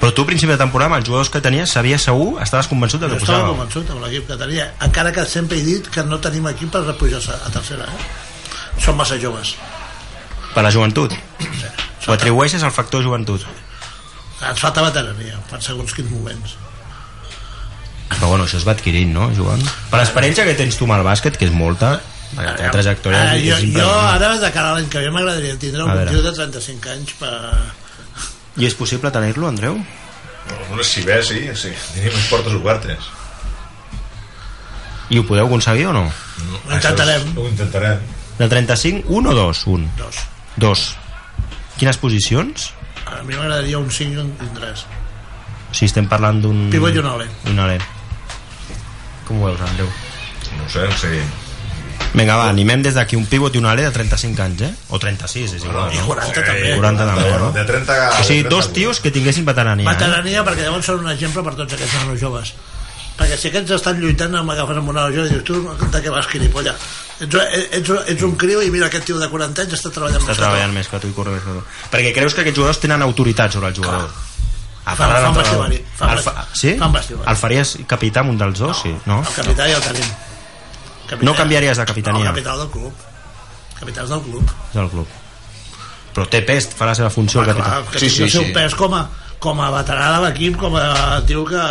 Speaker 2: Però tu, al principi de temporada, amb els jugadors que tenies, sabies segur, estaves convençut de
Speaker 5: Jo
Speaker 2: que
Speaker 5: estava
Speaker 2: pujàveu.
Speaker 5: convençut amb l'equip que tenia, encara que sempre he dit que no tenim equip per pujar a tercera. Eh? Són massa joves.
Speaker 2: per la joventut. Ho atribueixes al factor joventut.
Speaker 5: Ens falta veterania, per segons quins moments.
Speaker 2: Però bueno, això es va adquirint, no, Joan? Per l'experiència que tens tu amb el bàsquet, que és molta, perquè la teva trajectòria
Speaker 5: Ah,
Speaker 2: és,
Speaker 5: jo,
Speaker 2: és
Speaker 5: jo
Speaker 2: impressionant.
Speaker 5: ara, de cara a l'any que ve, m'agradaria tindre un
Speaker 2: A veure.
Speaker 5: motiu de 35 anys per...
Speaker 2: I és possible tenir-lo, Andreu?
Speaker 3: No, si bé, sí, sí. Tenim les portes obertes.
Speaker 2: I ho podeu aconseguir o no?
Speaker 5: Ho intentarem.
Speaker 3: Això és- Ho intentarem.
Speaker 2: De 35, un o dos? Un.
Speaker 5: Dos.
Speaker 2: Dos. Quines posicions?
Speaker 5: A mi m'agradaria un 5 i un un 3.
Speaker 2: Si estem parlant d'un...
Speaker 5: Pivot i un ole.
Speaker 2: Un ale. Com ho veus, Andreu?
Speaker 3: No ho sé, sí.
Speaker 2: Vinga, va, animem des d'aquí un pivot i un ale de 35 anys, eh? O 36, és igual.
Speaker 5: Ah, I 40 també.
Speaker 2: 40 també, no?
Speaker 3: De 30 a...
Speaker 2: O sigui,
Speaker 3: de 30
Speaker 2: dos tios que tinguessin veterania. Eh?
Speaker 5: Veterania, perquè llavors són un exemple per tots aquests nanos joves. Perquè si aquests estan lluitant, amb agafes amb un nano jove i dius, tu, de què vas, quiripolla? Ets, ets, ets un criu i mira aquest tio de 40 anys està
Speaker 2: Està
Speaker 5: treballant més que tu.
Speaker 2: treballant més que tu i corre més que tu. Perquè creus que aquests jugadors tenen autoritat sobre el jugador. A
Speaker 5: Fan-
Speaker 2: part de
Speaker 5: fan
Speaker 2: l'entrenador.
Speaker 5: vestibari, fan
Speaker 2: El fa-
Speaker 5: vesti-
Speaker 2: Sí?
Speaker 5: fan vestibari.
Speaker 2: El faries capità amb un dels dos, sí, no?
Speaker 5: El capità ja el tenim. Capità.
Speaker 2: No canviaries de capitania.
Speaker 5: No, capità del club. Capità del club.
Speaker 2: Del club. Però té pest, fa la seva funció el capità.
Speaker 5: que sí, sí, el seu sí. pes com a, com a veterà de l'equip, com a tio que...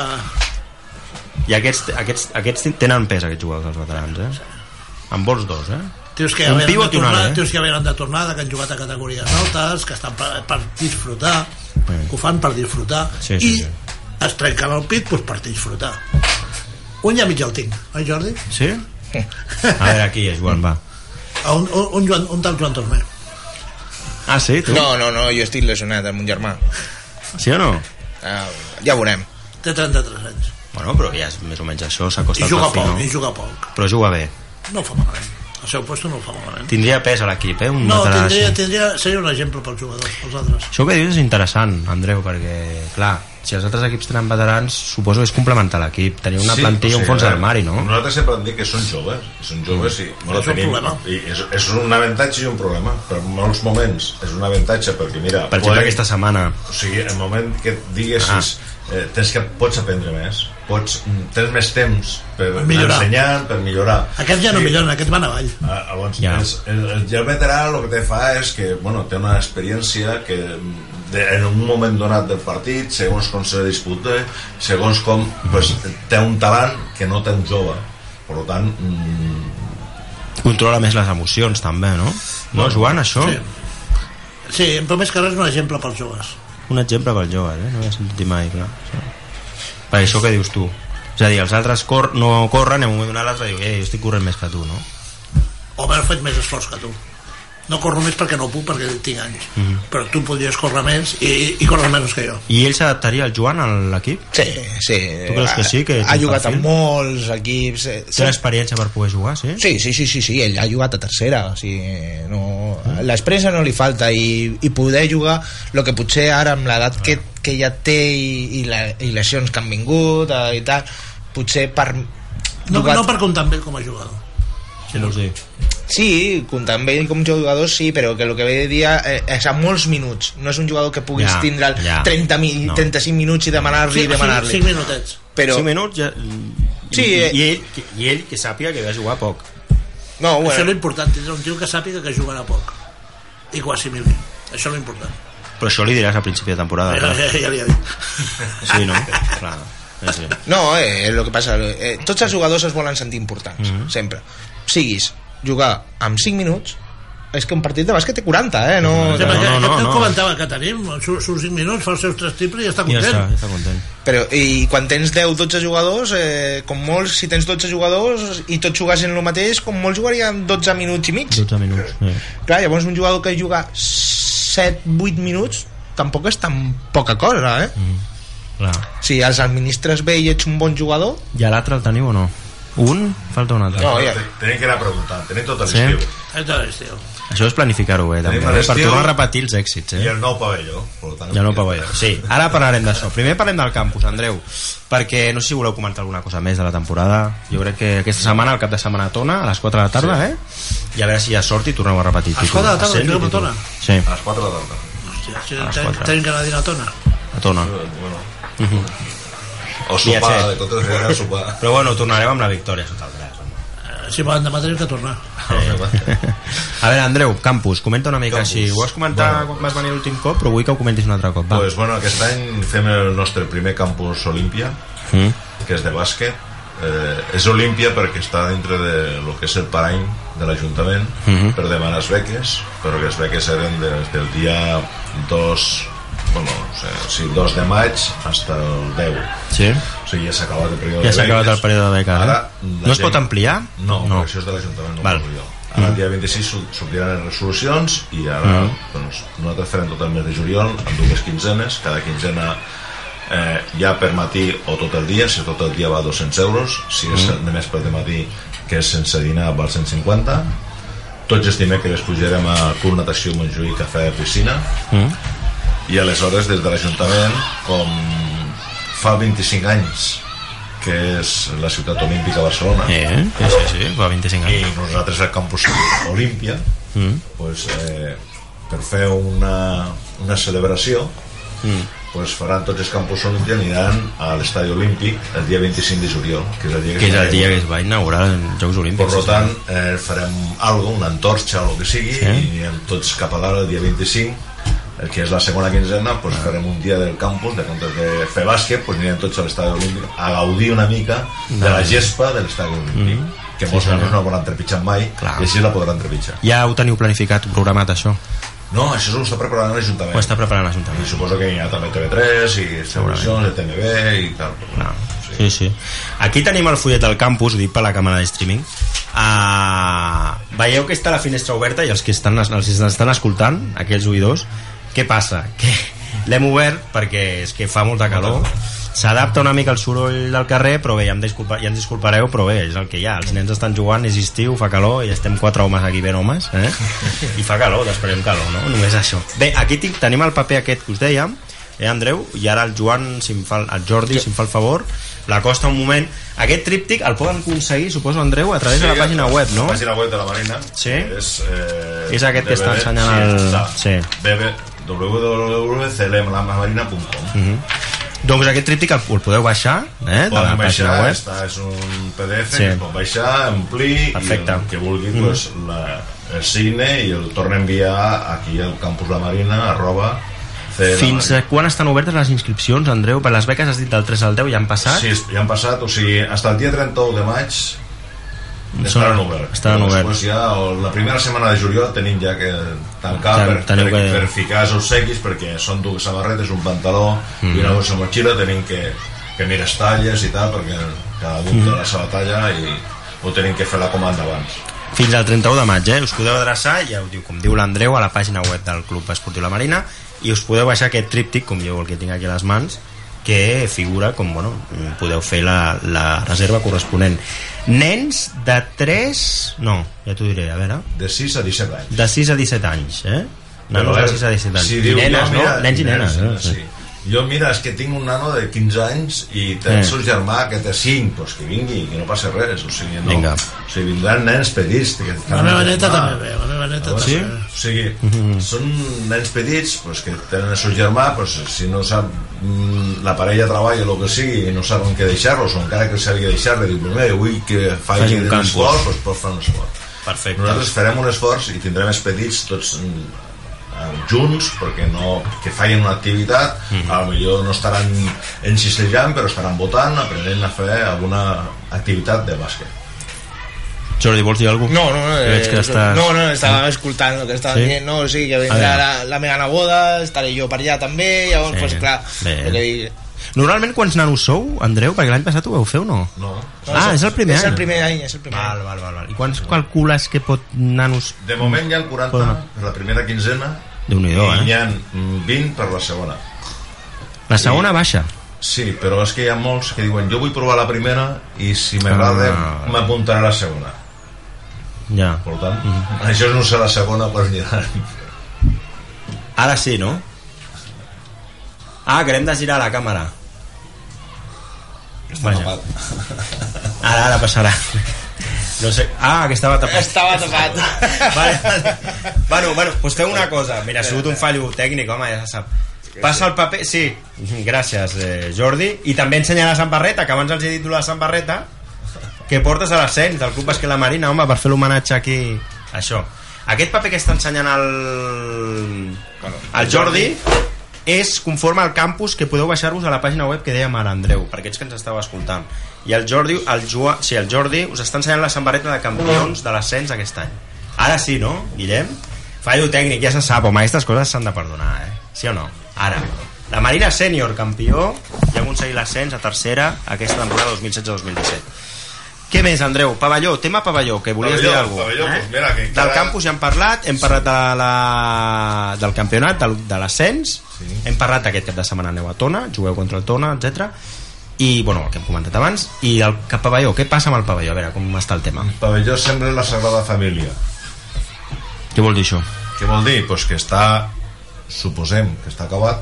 Speaker 2: I aquests, aquests, aquests tenen pes, aquests jugadors, els veterans, eh? En vols dos, eh?
Speaker 5: Tios que,
Speaker 2: Un
Speaker 5: havien de
Speaker 2: pivot i un
Speaker 5: tornar,
Speaker 2: ala, eh?
Speaker 5: tios que havien de tornar, que han jugat a categories altes, que estan per, per disfrutar,
Speaker 2: Mm.
Speaker 5: que ho fan per disfrutar,
Speaker 2: Sí, sí,
Speaker 5: i
Speaker 2: sí.
Speaker 5: es trenquen el pit doncs, per disfrutar. Un ja mig el tinc, oi Jordi?
Speaker 2: Sí? A veure, aquí és, Joan, va.
Speaker 5: Un, un, un, Joan, un tal Joan Tormé.
Speaker 2: Ah, sí, tu?
Speaker 4: No, no, no, jo estic lesionat amb un germà.
Speaker 2: Sí o no?
Speaker 4: Ah, ja veurem.
Speaker 5: Té 33 anys.
Speaker 2: Bueno, però ja és més o menys això, s'acosta al
Speaker 5: I juga
Speaker 2: perfil,
Speaker 5: poc, i
Speaker 2: no?
Speaker 5: juga poc.
Speaker 2: Però juga bé.
Speaker 5: No ho fa malament. El seu puesto no ho fa malament.
Speaker 2: Tindria pes a l'equip, eh? Un
Speaker 5: No,
Speaker 2: veterà així.
Speaker 5: tindria, tindria, seria un exemple pels jugadors, pels altres.
Speaker 2: Això que dius és interessant, Andreu, perquè, clar, si els altres equips tenen veterans, suposo que és complementar l'equip, tenir una sí, plantilla,
Speaker 3: o sigui,
Speaker 2: un fons
Speaker 3: a veure,
Speaker 2: d'armari, no?
Speaker 3: Nosaltres sempre hem dit que són joves, i són joves i no la
Speaker 5: És un
Speaker 3: tenim.
Speaker 5: problema.
Speaker 3: I és, és un avantatge i un problema. Per molts moments és un avantatge perquè, mira...
Speaker 2: Per exemple,
Speaker 3: poden-
Speaker 2: aquesta Ah. setmana.
Speaker 3: O sigui, el moment que et diguessis eh, tens que pots aprendre més, pots, mm, tens més temps per,
Speaker 5: Per millorar.
Speaker 3: ensenyar, per millorar.
Speaker 5: Aquests ja no milloren, aquests van avall.
Speaker 3: Ah, Llavors,
Speaker 2: Ja.
Speaker 3: ja. el, el, el gel veterà el que te fa és que bueno, té una experiència que de, en un moment donat del partit, segons com se disputa, segons com pues, té un talent que no té un jove. Per tant, mm,
Speaker 2: Controla més les emocions, també, no? No, Joan, això?
Speaker 5: Sí. Sí, però més que res un exemple pels joves.
Speaker 2: Un exemple pel jove, eh? No ho he sentit mai, clar. Això. Per això que dius tu. És a dir, els altres cor no corren, en un moment donat l'altre diu, eh, jo estic corrent més que tu, no?
Speaker 5: O haver fet més esforç que tu. No corro més perquè no puc, perquè tinc anys. Mm -hmm. Però tu podries córrer més i, i córrer menys que jo.
Speaker 2: I ell s'adaptaria al Joan, a l'equip?
Speaker 4: Sí, sí.
Speaker 2: Tu creus que sí, que és
Speaker 4: ha, ha
Speaker 2: un
Speaker 4: jugat
Speaker 2: perfil?
Speaker 4: amb molts equips... eh,
Speaker 2: Té l'experiència per poder jugar, sí?
Speaker 4: Sí, sí, sí, sí, sí, ell ha jugat a tercera, o sigui, no, l'experiència no li falta i, i poder jugar el que potser ara amb l'edat que, que ja té i, i, la, i lesions que han vingut eh, i tal, potser per
Speaker 5: No,
Speaker 4: jugar-
Speaker 5: no per comptar amb ell com a jugador.
Speaker 2: Sí, no sé.
Speaker 4: Sí, comptant amb ell com jugador sí, però que el que ve de dia eh, és a molts minuts, no és un jugador que puguis
Speaker 2: Ja,
Speaker 4: tindre el
Speaker 2: ja.
Speaker 4: 30 mi,
Speaker 2: No.
Speaker 4: 35 minuts i demanar-li i demanar-li.
Speaker 5: 5 minutets.
Speaker 4: però,
Speaker 2: 5 minuts ja...
Speaker 4: Sí,
Speaker 2: i,
Speaker 4: eh.
Speaker 2: i, ell, I ell que sàpiga que va jugar poc.
Speaker 4: no,
Speaker 5: Bueno. Això és
Speaker 4: bueno,
Speaker 5: l'important, tindre un tio que sàpiga que jugarà poc. I quasi mil. Això és l'important.
Speaker 2: Però això li diràs a principi de temporada.
Speaker 5: Ja,
Speaker 2: Ah, clar.
Speaker 5: ja, ja li he dit.
Speaker 2: Sí, no? Clar. Sí, sí.
Speaker 4: No, eh, el que passa, eh, tots els jugadors es volen sentir importants, mm -hmm. sempre. Siguis jugar amb 5 minuts, és que un partit de bàsquet té 40, eh? No,
Speaker 5: Mm-hmm. Sí,
Speaker 2: no,
Speaker 4: no,
Speaker 5: perquè
Speaker 2: no, no.
Speaker 5: aquest no. comentava que tenim, surt 5 minuts, fa els seus 3 triples i està
Speaker 2: Ja
Speaker 5: content.
Speaker 2: està, ja està content.
Speaker 4: però, I quan tens 10-12 jugadors, eh, com molts, si tens 12 jugadors i tots jugassin el mateix, com molts jugarien 12 minuts i mig.
Speaker 2: 12 minuts. Eh.
Speaker 4: Clar, llavors un jugador que juga 7-8 minuts tampoc és tan poca cosa, eh?
Speaker 2: Clar.
Speaker 4: Si els administres bé i ets un bon jugador,
Speaker 2: I a l'altre el teniu o no? Un? Falta un altre.
Speaker 4: No, ja.
Speaker 3: tenim que anar preguntant, tenim tot
Speaker 2: Sí?
Speaker 3: l'estiu.
Speaker 5: Entonces, tio.
Speaker 2: Això és planificar-ho bé, també,
Speaker 3: Tenim a
Speaker 2: eh? per
Speaker 3: l'estiu-
Speaker 2: tornar a repetir els èxits. Eh?
Speaker 3: I el nou pavelló. Per tant,
Speaker 2: Ja no ho veure. Sí, ara parlarem d'això. Primer parlem del campus, Andreu, perquè no sé si voleu comentar alguna cosa més de la temporada. Jo crec que aquesta setmana, el cap de setmana, tona a les 4 de la tarda, sí. eh? I a veure si ja sort i torneu a repetir.
Speaker 5: A les 4 de la tarda,
Speaker 2: Ascens i
Speaker 5: juguem a
Speaker 2: títol.
Speaker 5: Tona?
Speaker 2: Sí,
Speaker 3: A les 4 de la tarda.
Speaker 5: Hòstia, si
Speaker 2: les
Speaker 5: ten-
Speaker 2: quatre.
Speaker 5: tenim que anar a dinar a tona.
Speaker 2: a Tona.
Speaker 3: Bueno. O sopar,
Speaker 2: Viatget.
Speaker 3: de totes maneres sopar.
Speaker 2: Però bueno, tornarem amb la victòria sota el braç. home.
Speaker 5: si van demà teniu que tornar.
Speaker 2: A veure, Andreu, Campus, comenta una mica
Speaker 3: Campus.
Speaker 2: així. Ho vas comentar
Speaker 3: Bueno.
Speaker 2: quan vas venir l'últim cop, però vull que ho comentis un altre cop. Va.
Speaker 3: Pues, bueno, aquest any fem el nostre primer campus Olímpia,
Speaker 2: Mm.
Speaker 3: que és de bàsquet. Eh, és Olímpia perquè està dintre de lo que és el parany de l'Ajuntament
Speaker 2: Mhm.
Speaker 3: per demanar les beques, però que les beques eren des del dia 2 bueno, o sigui, sí, 2 de maig fins al 10
Speaker 2: Sí?
Speaker 3: o sigui, ja s'ha acabat el període
Speaker 2: Ja s'ha
Speaker 3: de beques.
Speaker 2: acabat el període de beca.
Speaker 3: Ara,
Speaker 2: eh?
Speaker 3: la
Speaker 2: No es
Speaker 3: gent-
Speaker 2: pot ampliar?
Speaker 3: No, no.
Speaker 2: no.
Speaker 3: això és de l'Ajuntament, no
Speaker 2: Val. Mm.
Speaker 3: Val. jo. Ara el dia 26 sor- sortiran les resolucions i ara doncs, nosaltres farem tot el mes de juliol amb dues quinzenes, cada quinzena eh, ja per matí o tot el dia si tot el dia va a 200 euros si és mm. només per de matí que és sense dinar val 150 tots estimem que les pujarem a Club Natació Montjuïc Cafè de Piscina
Speaker 2: Mm.
Speaker 3: i aleshores des de l'Ajuntament com fa 25 anys que és la ciutat olímpica de Barcelona
Speaker 2: Eh? Sí, sí, sí, fa 25
Speaker 3: i
Speaker 2: anys.
Speaker 3: nosaltres al campus Olímpia mm. pues, eh, per fer una, una celebració mm. pues faran tots els campus Olímpia aniran a l'estadi olímpic el dia 25 de juliol que és el dia que,
Speaker 2: Que és el dia que
Speaker 3: que...
Speaker 2: es va inaugurar els Jocs
Speaker 3: per
Speaker 2: Olímpics.
Speaker 3: lo tant eh, farem algo, una antorxa o el que sigui
Speaker 2: Sí.
Speaker 3: sí. i anirem tots cap a dalt el dia 25 el que és la segona quinzena
Speaker 2: Ah.
Speaker 3: pues farem un dia del campus de comptes de fer bàsquet pues anirem tots a l'estadi olímpic a gaudir una mica de la gespa de l'estadi olímpic que molts nanos no la volen trepitjar mai
Speaker 2: Mm-hmm. Clar.
Speaker 3: i així la podran trepitjar
Speaker 2: Ja ho teniu planificat, programat, això?
Speaker 3: no, això s'ho està preparant l'Ajuntament
Speaker 2: Ho està preparant
Speaker 3: i
Speaker 2: l'Ajuntament?
Speaker 3: suposo que hi ha també TV3 i televisions, el TNB i tal
Speaker 2: No.
Speaker 3: Sí.
Speaker 2: Sí, sí. Aquí tenim el fullet del campus, ho dic per la càmera de streaming. Uh, veieu que està la finestra oberta i els que estan, els que ens estan escoltant, aquells oïdors, què passa? Que l'hem obert perquè és que fa molta calor, s'adapta una mica al soroll del carrer, però bé, ja, em disculpa, ja ens disculpareu, però bé, és el que hi ha. Els nens estan jugant, és estiu, fa calor, i estem quatre homes aquí ben homes, eh? I fa calor, després calor, no? Només això. Bé, aquí tinc, tenim el paper aquest que us dèiem, eh, Andreu? I ara el Joan, si em fa, el Jordi, si em fa el favor, la costa un moment. Aquest tríptic el poden aconseguir, suposo, Andreu, a través de la pàgina web, no?
Speaker 3: La pàgina web de la Marina.
Speaker 2: Sí.
Speaker 3: És, eh,
Speaker 2: És aquest que està
Speaker 3: www,
Speaker 2: ensenyant el-
Speaker 3: Sí,
Speaker 2: sí.
Speaker 3: està. www www.clmlamarina.com
Speaker 2: Mm. Doncs aquest tríptic el, el podeu baixar, eh? De la
Speaker 3: Poden baixar,
Speaker 2: pàgina web.
Speaker 3: està, és un PDF
Speaker 2: Sí.
Speaker 3: que es pot baixar, omplir
Speaker 2: Perfecte. Mm.
Speaker 3: i el que vulgui pues, la, el signe i el torna a enviar aquí al campus la Marina arroba CL
Speaker 2: Fins
Speaker 3: Marina.
Speaker 2: a quan estan obertes les inscripcions, Andreu? Per les beques has dit del 3 al 10, ja han passat?
Speaker 3: Sí, ja han passat, o sigui, fins al dia 31 de maig estaran oberts.
Speaker 2: estaran
Speaker 3: Però
Speaker 2: oberts.
Speaker 3: Després ja, o la primera setmana de juliol tenim ja que tancar
Speaker 2: Ten-
Speaker 3: per,
Speaker 2: teniu
Speaker 3: per,
Speaker 2: que-
Speaker 3: per ficar els obsequis, perquè són dues samarretes, un pantaló
Speaker 2: Mhm.
Speaker 3: i una bossa motxilla, tenim que, que mirar les talles i tal, perquè cada un
Speaker 2: Mhm.
Speaker 3: té la seva talla i ho tenim que fer la comanda abans.
Speaker 2: Fins al 31 de maig, eh? Us podeu adreçar, ja ho diu, com diu l'Andreu, a la pàgina web del Club Esportiu La Marina i us podeu baixar aquest tríptic, com jo el que tinc aquí a les mans, que figura com, bueno, podeu fer la, la reserva corresponent. Nens de 3... No, ja t'ho diré, a veure...
Speaker 3: De 6 a 17 anys.
Speaker 2: De 6 a 17 anys, eh? Nanos de 6 a 17 anys.
Speaker 3: Si
Speaker 2: I
Speaker 3: diu,
Speaker 2: nenes,
Speaker 3: jo,
Speaker 2: no?
Speaker 3: mira,
Speaker 2: Nens i nenes.
Speaker 3: nens,
Speaker 2: eh?
Speaker 3: sí. Jo, mira, és que tinc un nano de 15 anys i té
Speaker 2: Eh.
Speaker 3: el seu germà que té 5, doncs que vingui, que no passa res. O sigui, no.
Speaker 2: Vinga.
Speaker 3: O sigui, vindran nens petits. Que
Speaker 5: La meva neta
Speaker 3: Ah,
Speaker 5: també ve, la meva neta
Speaker 3: veure,
Speaker 5: també ve.
Speaker 3: eh, O sigui,
Speaker 2: Mhm.
Speaker 3: són nens petits doncs, que tenen el seu germà, doncs, si no sap mm, la parella treballa o el que sigui i no saben què deixar-los, o encara que sàpiga deixar-li, diu, primer, vull que
Speaker 2: Faci
Speaker 3: faci
Speaker 2: un
Speaker 3: un
Speaker 2: campus.
Speaker 3: esport, doncs pot fer un esport.
Speaker 2: Perfecte.
Speaker 3: Nosaltres Doncs farem un esforç i tindrem els petits tots mm, eh, junts perquè no, que facin una activitat
Speaker 2: Mhm.
Speaker 3: mm -hmm. millor no estaran encistejant però estaran votant, aprenent a fer alguna activitat de bàsquet
Speaker 2: Jordi, vols dir alguna
Speaker 4: No, no, no,
Speaker 2: Veig que
Speaker 4: eh,
Speaker 2: estàs-
Speaker 4: no, no, estava escoltant el que estava
Speaker 2: Sí?
Speaker 4: dient, no? O sigui, que
Speaker 2: Ah,
Speaker 4: vindrà la, la meva neboda, estaré jo per allà també, llavors,
Speaker 2: Sí.
Speaker 4: sí. pues, clar,
Speaker 2: Bé.
Speaker 4: el que digui.
Speaker 2: Normalment quants nanos sou, Andreu? Perquè l'any passat ho vau fer o no?
Speaker 3: no?
Speaker 2: Ah, és el primer
Speaker 4: és
Speaker 2: any.
Speaker 4: el primer any, és el primer
Speaker 2: Val,
Speaker 4: any.
Speaker 2: val, val, val. I quants calcules que pot nanos...
Speaker 3: de moment hi ha el 40
Speaker 2: Bueno.
Speaker 3: per la primera quinzena
Speaker 2: Déu-n'hi-do,
Speaker 3: i
Speaker 2: eh?
Speaker 3: hi ha mm, 20 per la segona
Speaker 2: La segona baixa.
Speaker 3: Sí, però és que hi ha molts que diuen jo vull provar la primera i si m'agrada
Speaker 2: Ah.
Speaker 3: m'apuntaré a la segona.
Speaker 2: Ja.
Speaker 3: Per tant,
Speaker 2: Mhm.
Speaker 3: això no serà la segona quan aniran.
Speaker 2: Ara sí, no? Ah, que l'hem de girar la càmera. Vaja. Ara, ara passarà. No sé... Ah, que estava tapat.
Speaker 4: Estava tapat.
Speaker 2: Vale, vale. Bueno, bueno, doncs feu una cosa. Mira, ha sigut un fallo tècnic, home, ja se sap. Passa el paper... Sí, gràcies, eh, Jordi. I també ensenyar la sambarreta, que abans els he dit lo de la sambarreta. que portes a l'ascens del Club Basquet La Marina, home, per fer l'homenatge aquí. Això. Aquest paper que està ensenyant el, el Jordi és conforme al campus que podeu baixar-vos a la pàgina web que dèiem ara, Andreu, per aquests que ens estàveu escoltant. I el Jordi, el Joa, sí, el Jordi us està ensenyant la sambarreta de campions de l'ascens aquest any. Ara sí, no, Guillem? Fallo tècnic, ja se sap, home, aquestes coses s'han de perdonar, eh? Sí o no? Ara. La Marina Sènior, campió, i ha aconseguit l'ascens a tercera aquesta temporada 2016-2017. Què més, Andreu? Pavelló, tema pavelló, que volies
Speaker 3: Pavelló,
Speaker 2: dir alguna cosa.
Speaker 3: pavelló, doncs mira, que
Speaker 2: Eh? Del
Speaker 3: encara-
Speaker 2: campus ja hem parlat, hem parlat de la, del campionat, del, de l'ascens, sí. hem parlat aquest cap de setmana aneu a Tona, jugueu contra el Tona, etc. I, bueno, el que hem comentat abans, i el cap pavelló, què passa amb el pavelló? A veure, com està el tema?
Speaker 3: Pavelló sembla la Sagrada Família.
Speaker 2: Què vol dir això?
Speaker 3: Què vol dir? Pues que està, suposem que està acabat,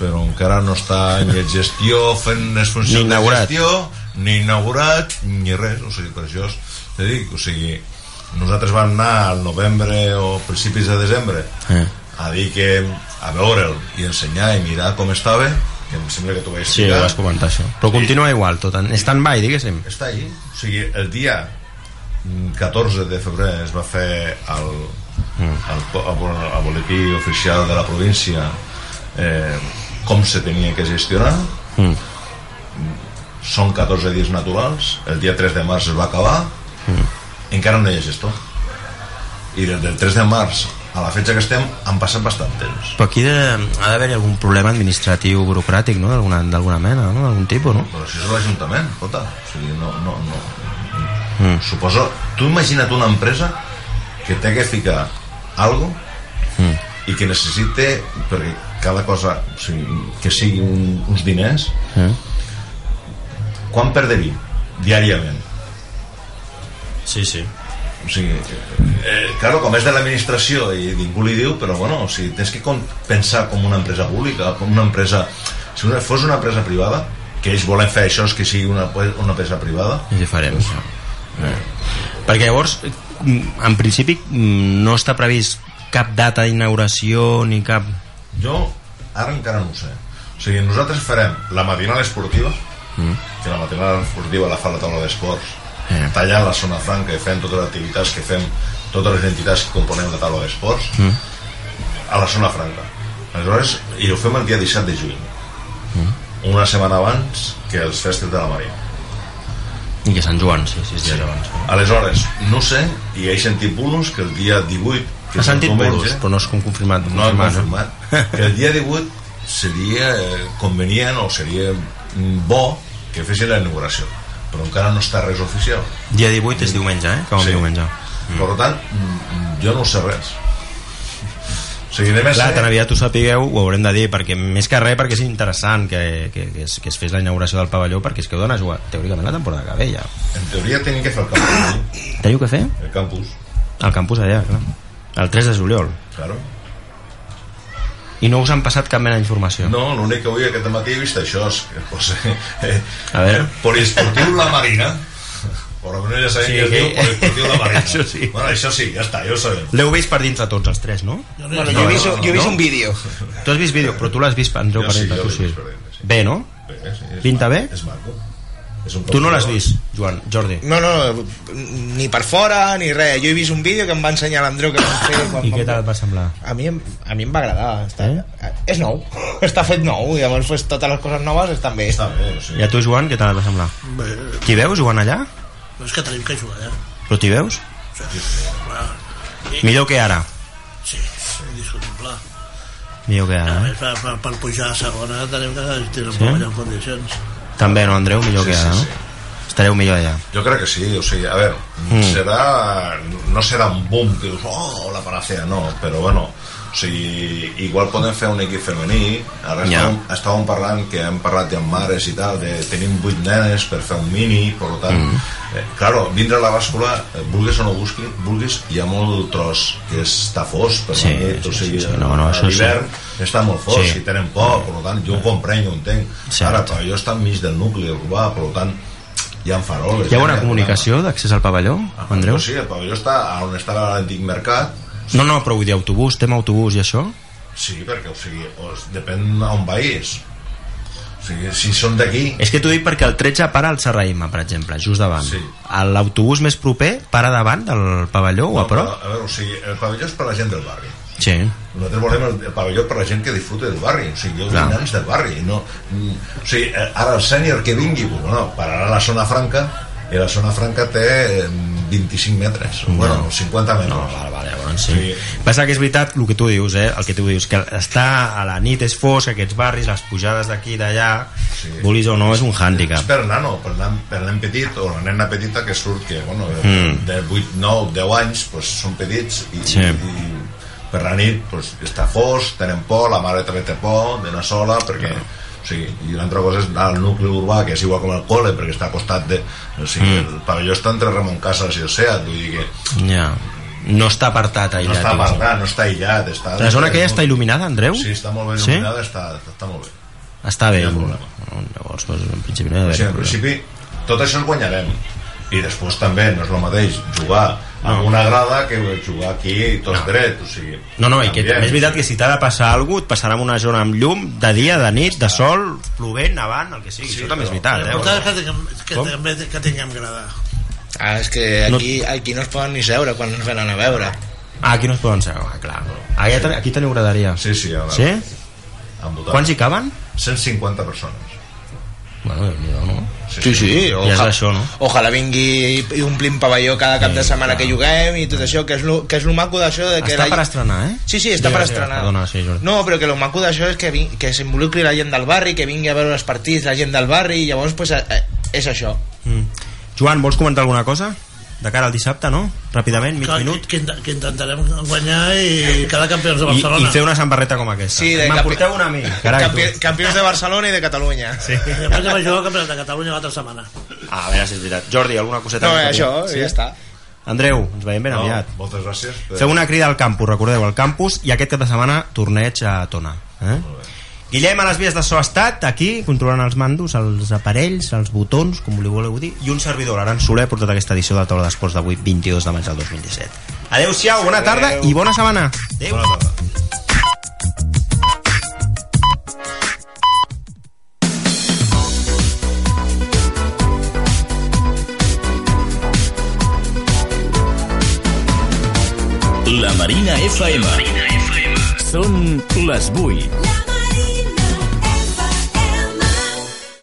Speaker 3: però encara no està ni en gestió, fent les funcions
Speaker 2: Ni inaugurat.
Speaker 3: de gestió, ni inaugurat, ni res. O sigui, per això és, te dic, o sigui, nosaltres vam anar al novembre o principis de desembre
Speaker 2: Eh.
Speaker 3: a dir que a veure'l i ensenyar i mirar com estava, que em sembla que t'ho vaig
Speaker 2: Sí,
Speaker 3: explicar.
Speaker 2: ho vas comentar, això. Però continua igual, tot en stand-by, diguéssim.
Speaker 3: està allí. O sigui, el dia mm, 14 de febrer es va fer el, el, po- el, bo- el boletí oficial de la província eh, com se tenia que gestionar
Speaker 2: Mm.
Speaker 3: són 14 dies naturals el dia 3 de març es va acabar mm. encara no hi ha gestor i des del 3 de març a la fetge que estem han passat bastant temps
Speaker 2: Però aquí de, ha d'haver-hi algun problema administratiu burocràtic, no? D'alguna d'alguna mena, no? D'algun tipus, no?
Speaker 3: però si és l'Ajuntament, escolta, o sigui, no, no, no. Mm. Suposo, tu imagina't una empresa que té que ficar algo mm. i que necessite, perquè cada cosa, o sigui, que sigui un, uns diners,
Speaker 2: Mm.
Speaker 3: quan perderia diàriament?
Speaker 2: Sí, sí.
Speaker 3: O sigui, eh, claro, com és de l'administració i ningú li diu, però bueno, o sigui, tens que com- pensar com una empresa pública, com una empresa... Si una, fos una empresa privada, que ells volen fer això, és que sigui una, una empresa privada,
Speaker 2: És diferent. Això. Eh. Perquè llavors, mm, en principi, mm, no està previst cap data d'inauguració ni cap...
Speaker 3: Jo ara encara no ho sé. O sigui, nosaltres farem la matinal esportiva, mm. que la matinal esportiva la fa la taula d'esports,
Speaker 2: Eh.
Speaker 3: tallant la zona franca i fent totes les activitats que fem, totes les entitats que componem la taula d'esports, mm. a la zona franca. Aleshores, i ho fem el dia 17 de juny, mm. una setmana abans que els festes de la Marina.
Speaker 2: I que Sant Joan, sí, sis dies sí. abans. eh.
Speaker 3: Aleshores, no sé, i he sentit bulos que el dia 18, que
Speaker 2: Ha
Speaker 3: és un
Speaker 2: sentit
Speaker 3: diumenge,
Speaker 2: bolos, però no és com confirmat.
Speaker 3: no han
Speaker 2: confirmat, eh?
Speaker 3: confirmat que el dia 18 seria eh, convenient o seria mm, bo que fessin la inauguració però encara no està res oficial
Speaker 2: Dia 18 és diumenge, eh? Com sí. diumenge.
Speaker 3: per tant mm, jo no sé res o sigui, anem a
Speaker 2: Clar, tan
Speaker 3: ser
Speaker 2: aviat ho sapigueu, ho haurem de dir, perquè més que res, perquè és interessant que, que, que, es, que es fes la inauguració del pavelló, perquè és que heu d'anar a jugar, teòricament, la temporada que ve, ja.
Speaker 3: en teoria tenim que fer el campus
Speaker 2: Teniu que fer?
Speaker 3: el campus,
Speaker 2: Al campus allà, clar. El 3 de juliol.
Speaker 3: claro
Speaker 2: I no us han passat cap mena d'informació.
Speaker 3: no, l'únic que avui aquest matí he vist això és que, pues, eh,
Speaker 2: A veure.
Speaker 3: poliesportiu la marina Por lo menos ya saben
Speaker 2: Sí,
Speaker 3: sí, que es
Speaker 2: que-
Speaker 3: diu poliesportiu la marina.
Speaker 2: Això sí.
Speaker 3: Bueno, això sí, ja està, ja ho sabem.
Speaker 2: L'heu vist per dins de tots els tres, no?
Speaker 4: Bueno, jo he vist, jo he vist
Speaker 2: No?
Speaker 4: un vídeo.
Speaker 2: Tu has vist vídeo, però tu l'has vist, Andreu,
Speaker 3: Jo
Speaker 2: per
Speaker 3: sí,
Speaker 2: dins,
Speaker 3: jo
Speaker 2: tu
Speaker 3: l'he
Speaker 2: sí.
Speaker 3: vist per dins, sí.
Speaker 2: Bé, no?
Speaker 3: Bé, sí, és
Speaker 2: Pinta
Speaker 3: maco,
Speaker 2: bé?
Speaker 3: És maco. És un
Speaker 2: Tu no l'has
Speaker 3: campus.
Speaker 2: vist, Joan, Jordi.
Speaker 4: No, no, ni per fora, ni res. Jo he vist un vídeo que em va ensenyar l'Andreu que vam fer quan
Speaker 2: I què
Speaker 4: vam-
Speaker 2: tal et va semblar?
Speaker 4: A mi, em- a mi em va agradar. Està, eh? És nou, està fet nou, i llavors pues, totes les coses noves estan bé.
Speaker 3: Està bé, o
Speaker 2: I
Speaker 3: sigui,
Speaker 2: a tu, Joan, què tal et va semblar?
Speaker 5: Bé,
Speaker 2: T'hi veus, Joan, allà?
Speaker 5: però és que tenim que jugar, eh?
Speaker 2: Però t'hi veus?
Speaker 5: Clar,
Speaker 2: Millor que ara.
Speaker 5: sí, indiscutible.
Speaker 2: Millor que
Speaker 5: A
Speaker 2: ara, eh?
Speaker 5: més, per, per, per pujar a segona tenim que tenir un pavelló en condicions.
Speaker 2: També, no, Andreu? Millor que ara,
Speaker 3: sí,
Speaker 2: no? Estareu millor allà.
Speaker 3: jo crec que sí, o sigui, a veure, mm. serà, no serà un boom que dius, oh, la panacea, no, però bueno, o sigui, igual podem fer un equip femení, ara
Speaker 2: Ja.
Speaker 3: yeah. estàvem, estàvem parlant que hem parlat amb mares i tal, de tenim vuit nenes per fer un mini, per tant, mm. eh, claro, dintre la bàscula, eh, vulguis o no vulguis, vulguis, hi ha molt tros que està fos per
Speaker 2: Sí,
Speaker 3: la nit, o
Speaker 2: sí,
Speaker 3: sigui,
Speaker 2: sí, sí, no, no,
Speaker 3: a
Speaker 2: això sí.
Speaker 3: l'hivern està molt fort,
Speaker 2: Sí.
Speaker 3: sí. si tenen por, per tant, jo ho comprenc, ho entenc.
Speaker 2: Cert.
Speaker 3: Ara, però jo està enmig del nucli urbà, per tant, hi ha faroles. eh,
Speaker 2: Hi ha bona
Speaker 3: ha
Speaker 2: comunicació d'accés al pavelló,
Speaker 3: problema.
Speaker 2: Andreu?
Speaker 3: Sí, el pavelló està a on està l'antic mercat,
Speaker 2: No, no, però vull dir autobús, tema autobús i això?
Speaker 3: sí, perquè, o sigui, o, es- depèn a on vagis. O sigui, si són d'aquí
Speaker 2: És que t'ho dic perquè el 13 para al Serraïma, per exemple, just davant.
Speaker 3: Sí.
Speaker 2: L'autobús més proper para davant del pavelló o a
Speaker 3: però,
Speaker 2: prop?
Speaker 3: a veure, o sigui, el pavelló és per la gent del barri
Speaker 2: Sí.
Speaker 3: nosaltres volem el, el pavelló per la gent que disfruta del barri o sigui, jo
Speaker 2: Clar.
Speaker 3: vinc anys del barri no, mm, o sigui, eh, ara el sènior que vingui bueno, no, pararà a la zona franca i la zona franca té eh, 25 metres no. bueno, 50 metres no,
Speaker 2: Vale, vale, llavors sí.
Speaker 3: Sí.
Speaker 2: Passa que és veritat el que tu dius, eh? El que tu dius, que està a la nit és fosc, aquests barris, les pujades d'aquí i d'allà, sí.
Speaker 3: Sí.
Speaker 2: vulguis o no, és un
Speaker 3: És
Speaker 2: hàndicap.
Speaker 3: per nano, per nen, per nen petit o la nena petita que surt que, bueno, mm. de 8, 9, 10 anys pues, són petits i,
Speaker 2: Sí.
Speaker 3: sí. i per la nit pues, està fos, tenen por, la mare també té por d'anar sola perquè o sigui, i l'altra cosa és anar al nucli urbà que és igual com el col·le perquè està al costat de, o sigui, mm. el pavelló està entre Ramon Casas i el Seat vull dir que
Speaker 2: Ja. No està apartat,
Speaker 3: no
Speaker 2: aïllat.
Speaker 3: està
Speaker 2: diguéssim.
Speaker 3: apartat, no està aïllat està
Speaker 2: La zona aquella està il·luminada, Andreu?
Speaker 3: sí, està molt ben
Speaker 2: Sí?
Speaker 3: il·luminada, sí? està, està molt bé
Speaker 2: Està bé.
Speaker 3: No hi ha
Speaker 2: No
Speaker 3: problema.
Speaker 2: Llavors, doncs, en principi no hi ha
Speaker 3: O sigui,
Speaker 2: d'haver
Speaker 3: en
Speaker 2: problema.
Speaker 3: principi, tot això el guanyarem. I després també no és el mateix jugar a una grada que jugar aquí tots drets, o sigui...
Speaker 2: No, no, i que
Speaker 3: canviem,
Speaker 2: també és veritat
Speaker 3: o
Speaker 2: que si t'ha de passar alguna cosa, et passarà en una zona amb llum, de dia, de nit, de sol, plovent, nevant, el que sigui.
Speaker 3: Sí,
Speaker 2: Això també és
Speaker 3: però-
Speaker 2: veritat, eh?
Speaker 3: però-
Speaker 5: Portades que, tinguem, que,
Speaker 2: Com?
Speaker 5: també, que tinguem grada.
Speaker 4: Ah, és que aquí, aquí no es poden ni seure quan ens venen a veure.
Speaker 2: Ah, aquí no es poden ser, ah, clar. Aquí, ten- aquí teniu graderia.
Speaker 3: Sí, sí, a veure.
Speaker 2: Sí?
Speaker 3: Han votat.
Speaker 2: Quants hi caben?
Speaker 3: 150 persones.
Speaker 2: Bueno, déu nhi no?
Speaker 4: Sí, sí,
Speaker 2: Ja és això, no? Eh,
Speaker 4: Ojalà vingui i omplim pavelló cada cap de setmana que juguem i tot això, que és lo, que és lo maco d'això de que
Speaker 2: Està
Speaker 4: la-
Speaker 2: per estrenar, eh?
Speaker 4: Sí, sí,
Speaker 2: Digues,
Speaker 4: està per
Speaker 2: digues,
Speaker 4: estrenar.
Speaker 2: Perdona, sí, Jordi.
Speaker 4: no, però que lo maco d'això és que, vingui, que s'involucri la gent del barri, que vingui a veure els partits la gent del barri i llavors pues, eh, eh, és això.
Speaker 2: Mm. Joan, vols comentar alguna cosa? De cara al dissabte, no? Ràpidament, mig
Speaker 5: Que,
Speaker 2: minut.
Speaker 5: que, int- que, intentarem guanyar i quedar campions de
Speaker 2: I,
Speaker 5: Barcelona.
Speaker 2: I fer una sambarreta com aquesta.
Speaker 4: Sí, de
Speaker 2: Me'n
Speaker 4: capi-
Speaker 2: porteu una a mi. Carai, tu.
Speaker 4: Campi- Campions de Barcelona i de Catalunya.
Speaker 2: Sí.
Speaker 5: I després ja va jugar al Campionat de Catalunya l'altra setmana.
Speaker 2: Ah, a veure si és veritat. Jordi, alguna coseta?
Speaker 4: No,
Speaker 2: més
Speaker 4: eh,
Speaker 2: que tu?
Speaker 4: això, sí? ja està.
Speaker 2: Andreu, ens veiem ben
Speaker 3: No,
Speaker 2: aviat.
Speaker 3: moltes gràcies.
Speaker 2: Feu una crida al campus, recordeu, al campus i aquest cap de setmana torneig a Tona. Eh? Guillem a les vies de so ha estat aquí, controlant els mandos, els aparells, els botons, com li voleu dir, i un servidor, l'Aran Soler, ha portat aquesta edició de la taula d'esports d'avui, 22 de maig del 2017. Adeu-siau, bona tarda i bona setmana. Adeu.
Speaker 3: Bona tarda.
Speaker 1: La Marina FM. Són les 8.
Speaker 7: La